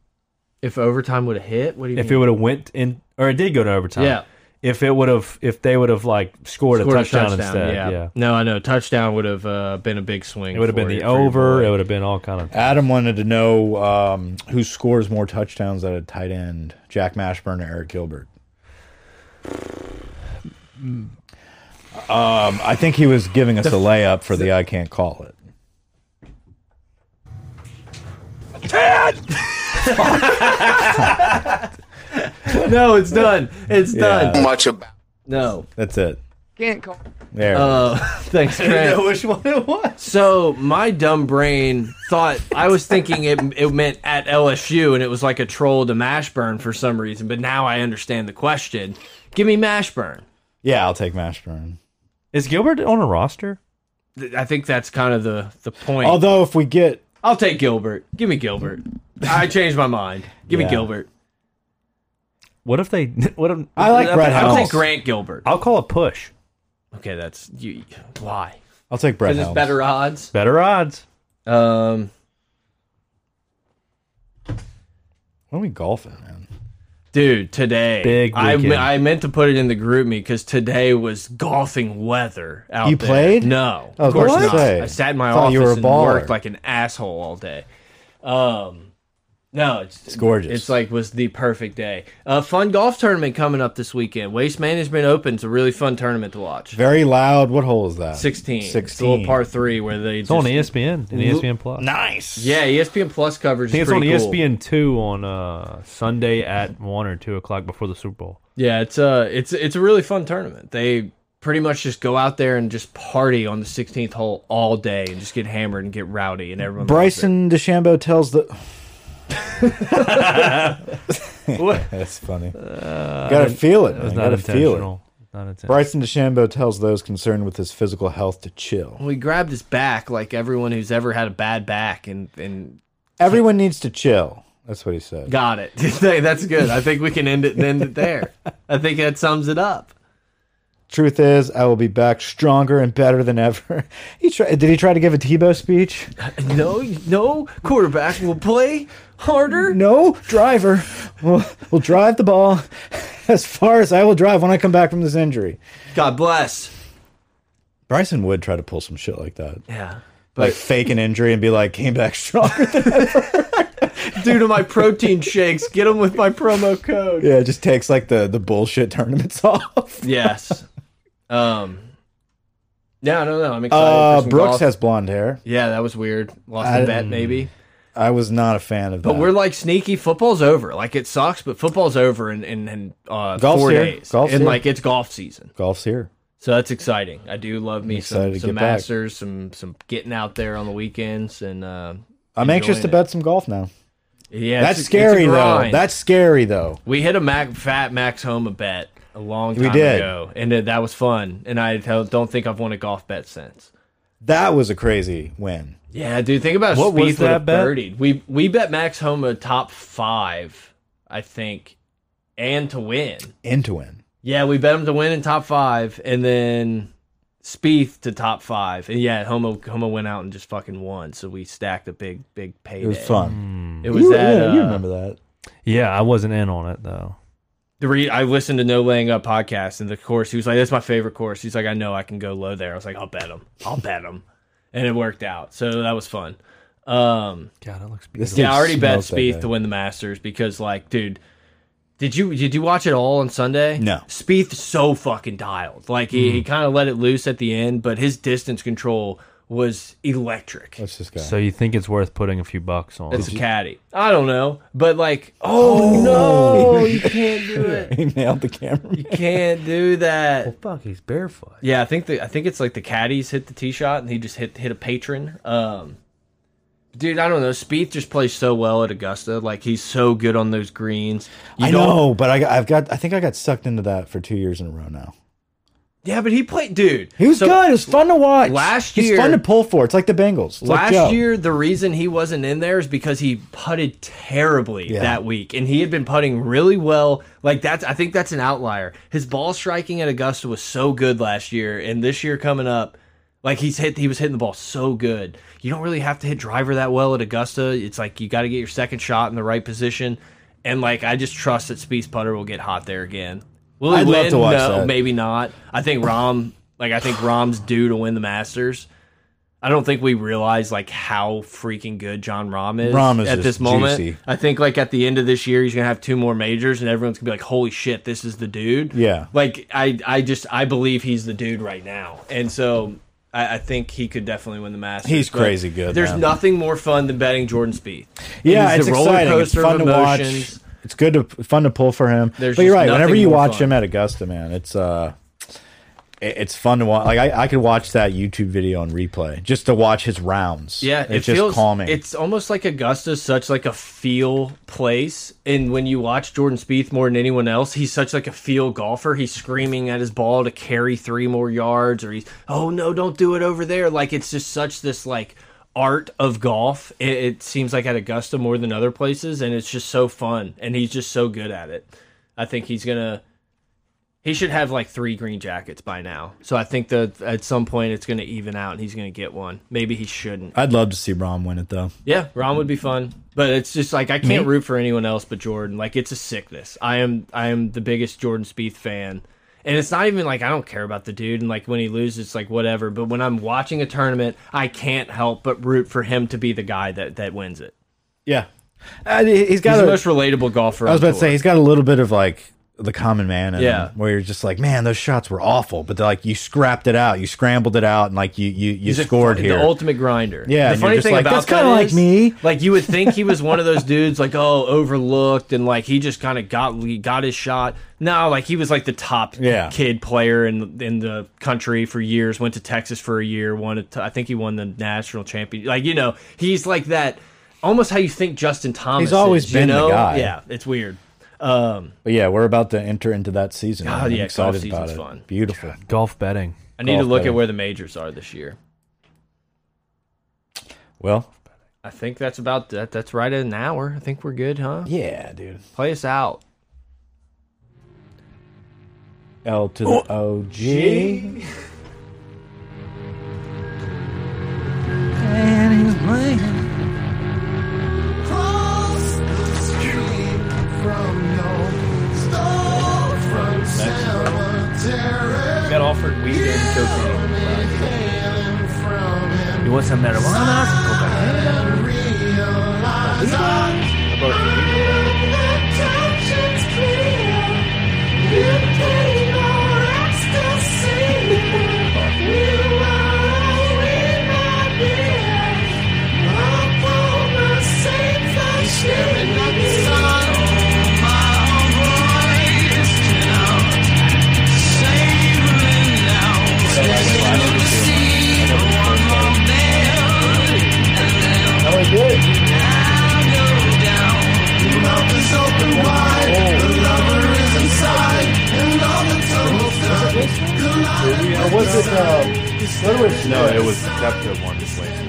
Speaker 2: If overtime would have hit, what do you
Speaker 3: If it
Speaker 2: mean?
Speaker 3: would have went in or it did go to overtime.
Speaker 2: Mm. Yeah.
Speaker 3: If it would have if they would have like scored,
Speaker 2: Scored
Speaker 3: a touchdown, instead.
Speaker 2: yeah.
Speaker 3: Yeah.
Speaker 2: No, I know. Touchdown would have uh, been a big swing.
Speaker 3: It would have been
Speaker 2: for
Speaker 3: the
Speaker 2: you- for your
Speaker 3: over.
Speaker 2: boy.
Speaker 3: It would have been all kind of.
Speaker 1: Adam wanted to know um, who scores more touchdowns at a tight end: Jack Mashburn or Eric Gilbert. Um, I think he was giving us a layup for the I can't call it.
Speaker 2: No, it's done. It's
Speaker 1: Yeah.
Speaker 2: done.
Speaker 6: much about
Speaker 2: No.
Speaker 1: That's it.
Speaker 6: Can't call.
Speaker 1: There.
Speaker 2: Uh, thanks, Grant.
Speaker 3: which one it was.
Speaker 2: So my dumb brain thought I was thinking it it meant at LSU, and it was like a troll to Mashburn for some reason. But now I understand the question. Give me Mashburn.
Speaker 1: yeah, I'll take Mashburn.
Speaker 3: Is Gilbert on a roster?
Speaker 2: Th- I think that's kind of the the point.
Speaker 1: Although if we get
Speaker 2: I'll take Gilbert. Give me Gilbert. I changed my mind. Give
Speaker 1: Yeah.
Speaker 2: me Gilbert.
Speaker 3: What if they? What if
Speaker 1: I like Brett
Speaker 2: I'll
Speaker 1: Helms.
Speaker 2: take Grant Gilbert.
Speaker 3: I'll call a push.
Speaker 2: Okay, that's you. Why?
Speaker 1: I'll take Brett
Speaker 2: Because it's
Speaker 1: Helms.
Speaker 2: better odds.
Speaker 3: Better odds.
Speaker 2: Um,
Speaker 1: When are we golfing, man?
Speaker 2: dude, today
Speaker 3: Big
Speaker 2: I me-
Speaker 3: weekend.
Speaker 2: I meant to put it in the group me because today was golfing weather out
Speaker 1: You
Speaker 2: there.
Speaker 1: played?
Speaker 2: No,
Speaker 1: I
Speaker 2: of
Speaker 1: was
Speaker 2: course
Speaker 1: about
Speaker 2: not.
Speaker 1: to say.
Speaker 2: I sat in my
Speaker 1: Thought
Speaker 2: office
Speaker 1: you were a
Speaker 2: and
Speaker 1: baller.
Speaker 2: worked like an asshole all day. Um, no, it's, it's
Speaker 1: gorgeous.
Speaker 2: It's like was the perfect day. A fun golf tournament coming up this weekend. Waste Management Open's a really fun tournament to watch.
Speaker 1: Very loud. What hole is that?
Speaker 2: 16. It's a
Speaker 1: 16.
Speaker 2: little par three where they
Speaker 3: It's on E ESPN and ESPN Plus.
Speaker 1: Nice.
Speaker 2: Yeah, E ESPN Plus coverage
Speaker 3: I think
Speaker 2: is
Speaker 3: it's on E
Speaker 2: pretty cool.
Speaker 3: ESPN two on uh, Sunday at one or two o'clock before the Super Bowl.
Speaker 2: Yeah, it's a it's it's a really fun tournament. They pretty much just go out there and just party on the 16th hole all day and just get hammered and get rowdy and everyone. loves
Speaker 1: Bryson DeChambeau tells the. That's funny. Gotta feel it. Man.
Speaker 3: It's Uh, not
Speaker 1: Gotta feel it.
Speaker 3: intentional. Not intentional.
Speaker 1: Bryson DeChambeau tells those concerned with his physical health to
Speaker 2: it.
Speaker 1: chill.
Speaker 2: We grabbed his back like everyone who's ever had a bad back and and
Speaker 1: Everyone needs to chill. That's what he said.
Speaker 2: got it. Hey, That's good. I think we can end it and end it there. I think that sums it up.
Speaker 1: Truth is, I will be back stronger and better than ever. He try, did he try to give a Tebow speech?
Speaker 2: No, no quarterback will play harder.
Speaker 1: No, driver. We'll, we'll drive the ball as far as I will drive when I come back from this injury.
Speaker 2: God bless.
Speaker 1: Bryson would try to pull some shit like that.
Speaker 2: Yeah.
Speaker 1: like fake an injury and be like came back stronger than
Speaker 2: Due to my protein shakes, get them with my promo code.
Speaker 1: yeah it just takes like the the bullshit tournaments off
Speaker 2: Yes. Um. Yeah, no, no. I'm excited.
Speaker 1: uh
Speaker 2: for some
Speaker 1: brooks
Speaker 2: golf.
Speaker 1: has blonde hair
Speaker 2: Yeah, that was weird. Lost
Speaker 1: I-
Speaker 2: the bet, maybe.
Speaker 1: i was not a fan of that
Speaker 2: But we're like sneaky. Football's over. Like it sucks, but football's over in in, in uh,
Speaker 1: Golf's
Speaker 2: four
Speaker 1: here.
Speaker 2: days.
Speaker 1: Golf's
Speaker 2: and
Speaker 1: here.
Speaker 2: like it's golf season,
Speaker 1: golf's here
Speaker 2: so that's exciting. I do love me
Speaker 1: excited
Speaker 2: some
Speaker 1: to
Speaker 2: some
Speaker 1: get back.
Speaker 2: masters, some some getting out there on the weekends, and uh,
Speaker 1: i'm anxious to
Speaker 2: enjoying it.
Speaker 1: bet some golf now
Speaker 2: Yeah, it's a- it's
Speaker 1: that's
Speaker 2: a
Speaker 1: scary though
Speaker 2: grind.
Speaker 1: that's scary though
Speaker 2: We hit a Mac, fat Max Homa bet a long time
Speaker 1: We did.
Speaker 2: ago, and that that was fun. And I don't think I've won a golf bet since.
Speaker 1: that was a crazy win
Speaker 2: Yeah, dude, think about
Speaker 3: What
Speaker 2: Spieth
Speaker 3: was that
Speaker 2: would've
Speaker 3: bet?
Speaker 2: birdied. We we bet Max Homa top five, I think, and to win.
Speaker 1: and to win
Speaker 2: Yeah, we bet him to win in top five, and then Spieth to top five. And yeah, Homa Homa went out and just fucking won. So we stacked a big big payday.
Speaker 1: it was fun
Speaker 2: It was
Speaker 1: you,
Speaker 2: that.
Speaker 1: yeah, you
Speaker 2: uh,
Speaker 1: remember that
Speaker 3: Yeah, I wasn't in on it though.
Speaker 2: the re I listened to No Laying Up podcast, and the course he was like, "That's my favorite course." He's like, "I know I can go low there." I was like, "I'll bet him. I'll bet him," and it worked out. So that was fun. Um,
Speaker 3: God, it looks
Speaker 1: This
Speaker 3: beautiful.
Speaker 2: Yeah, I
Speaker 1: dude
Speaker 2: already bet
Speaker 1: smoked that
Speaker 2: Spieth
Speaker 1: guy.
Speaker 2: to win the Masters because, like, dude, did you did you watch it all on Sunday?
Speaker 1: No. Mm.
Speaker 2: Spieth so fucking dialed. Like he, he kind of let it loose at the end, but his distance control was electric.
Speaker 1: what's this guy
Speaker 3: So you think it's worth putting a few bucks on?
Speaker 2: It's a caddy. I don't know, but like, oh, no, you can't do it.
Speaker 1: he nailed the camera
Speaker 2: You can't do that.
Speaker 3: fuck, he's barefoot.
Speaker 2: Yeah, I think the I think it's like the caddies hit the tee shot and he just hit hit a patron. Um, dude, I don't know. Spieth just plays so well at Augusta. Like he's so good on those greens. You
Speaker 1: i
Speaker 2: don't-
Speaker 1: know but I, got- i've got i think i got sucked into that for two years in a row now
Speaker 2: Yeah, but he played, dude.
Speaker 1: he was
Speaker 2: so
Speaker 1: good it was fun to watch
Speaker 2: last
Speaker 1: he's fun
Speaker 2: year-
Speaker 1: to pull for it's like the bengals It's like
Speaker 2: Last
Speaker 1: Joe.
Speaker 2: year, the reason he wasn't in there is because he putted terribly
Speaker 1: Yeah.
Speaker 2: that week, and he had been putting really well. Like that's, I think that's an outlier. His ball striking at Augusta was so good last year, and this year coming up, like he's hit, he was hitting the ball so good. You don't really have to hit driver that well at Augusta. It's like you got to get your second shot in the right position, and like I just trust that Speed's putter will get hot there again. Will he
Speaker 1: I'd love
Speaker 2: win?
Speaker 1: to watch
Speaker 2: no,
Speaker 1: that.
Speaker 2: maybe not. I think Rom, like I think Rom's due to win the Masters. I don't think we realize like how freaking good John Rahm is,
Speaker 1: Rahm is
Speaker 2: at this
Speaker 1: just
Speaker 2: moment.
Speaker 1: juicy.
Speaker 2: I think like at the end of this year he's gonna have two more majors and everyone's gonna be like, Holy shit, this is the dude.
Speaker 1: Yeah.
Speaker 2: Like I I just I believe he's the dude right now. And so I, I think he could definitely win the Masters.
Speaker 1: He's
Speaker 2: but
Speaker 1: crazy good,
Speaker 2: There's
Speaker 1: man.
Speaker 2: nothing more fun than betting Jordan Spieth.
Speaker 1: Yeah,
Speaker 2: is
Speaker 1: it's exciting. It's fun to watch. it's good to fun to pull for him.
Speaker 2: There's
Speaker 1: but you're
Speaker 2: just
Speaker 1: right.
Speaker 2: nothing
Speaker 1: Whenever you
Speaker 2: more
Speaker 1: watch
Speaker 2: fun.
Speaker 1: him at Augusta, man, it's uh, it- it's fun to watch. Like I, I could watch that YouTube video on replay just to watch his rounds.
Speaker 2: Yeah,
Speaker 1: it's just calming.
Speaker 2: It's almost like Augusta's such like a feel place, and when you watch Jordan Spieth more than anyone else, he's such like a feel golfer. He's screaming at his ball to carry three more yards, or he's oh no, don't do it over there. Like it's just such this like art of golf. It, it seems like at Augusta more than other places, and it's just so fun, and he's just so good at it. I think he's gonna. He should have like three green jackets by now. So I think that at some point it's going to even out and he's going to get one. Maybe he shouldn't.
Speaker 1: I'd love to see Rom win it though.
Speaker 2: Yeah, Ron would be fun, but it's just like I can't root for anyone else but Jordan. Like it's a sickness. I am I am the biggest Jordan Spieth fan, and it's not even like I don't care about the dude. And like when he loses, it's like whatever. But when I'm watching a tournament, I can't help but root for him to be the guy that that wins it.
Speaker 1: Yeah, uh, he's got
Speaker 2: He's
Speaker 1: a,
Speaker 2: the most relatable golfer.
Speaker 1: I was about to say he's got a little bit of like the common man in
Speaker 2: Yeah.
Speaker 1: him, where you're just like, man, those shots were awful, but they're like you scrapped it out, you scrambled it out, and like you you you scored here.
Speaker 2: The ultimate grinder.
Speaker 1: Yeah,
Speaker 2: The
Speaker 1: and you're
Speaker 2: funny
Speaker 1: just
Speaker 2: thing
Speaker 1: like,
Speaker 2: about
Speaker 1: "That's
Speaker 2: that
Speaker 1: kinda like
Speaker 2: is,
Speaker 1: me."
Speaker 2: Like you would think he was one of those dudes, like oh, overlooked, and like he just kind of got got his shot. No, like he was like the top
Speaker 1: Yeah.
Speaker 2: kid player in in the country for years. Went to Texas for a year. Won. A t I think he won the national champion. Like you know, he's like that. Almost how you think Justin Thomas.
Speaker 1: He's always
Speaker 2: is,
Speaker 1: been
Speaker 2: you
Speaker 1: the
Speaker 2: know?
Speaker 1: guy.
Speaker 2: Yeah, it's weird. Um,
Speaker 1: but yeah, we're about to enter into that season.
Speaker 2: God,
Speaker 1: I'm
Speaker 2: yeah, golf
Speaker 1: excited
Speaker 2: season's
Speaker 1: about it.
Speaker 2: fun.
Speaker 1: Beautiful.
Speaker 3: Golf betting.
Speaker 2: I need to
Speaker 1: Golf
Speaker 2: look
Speaker 1: better.
Speaker 2: at where the majors are this year.
Speaker 1: Well,
Speaker 2: I think that's about that. That's right at an hour. I think we're good, huh?
Speaker 1: yeah, dude.
Speaker 2: Play us out.
Speaker 1: L to
Speaker 2: Oh,
Speaker 1: the O G.
Speaker 2: Got offered weed and cocaine.
Speaker 3: You want some marijuana?
Speaker 1: uh,
Speaker 4: No, it was the Pepto one. Just wait.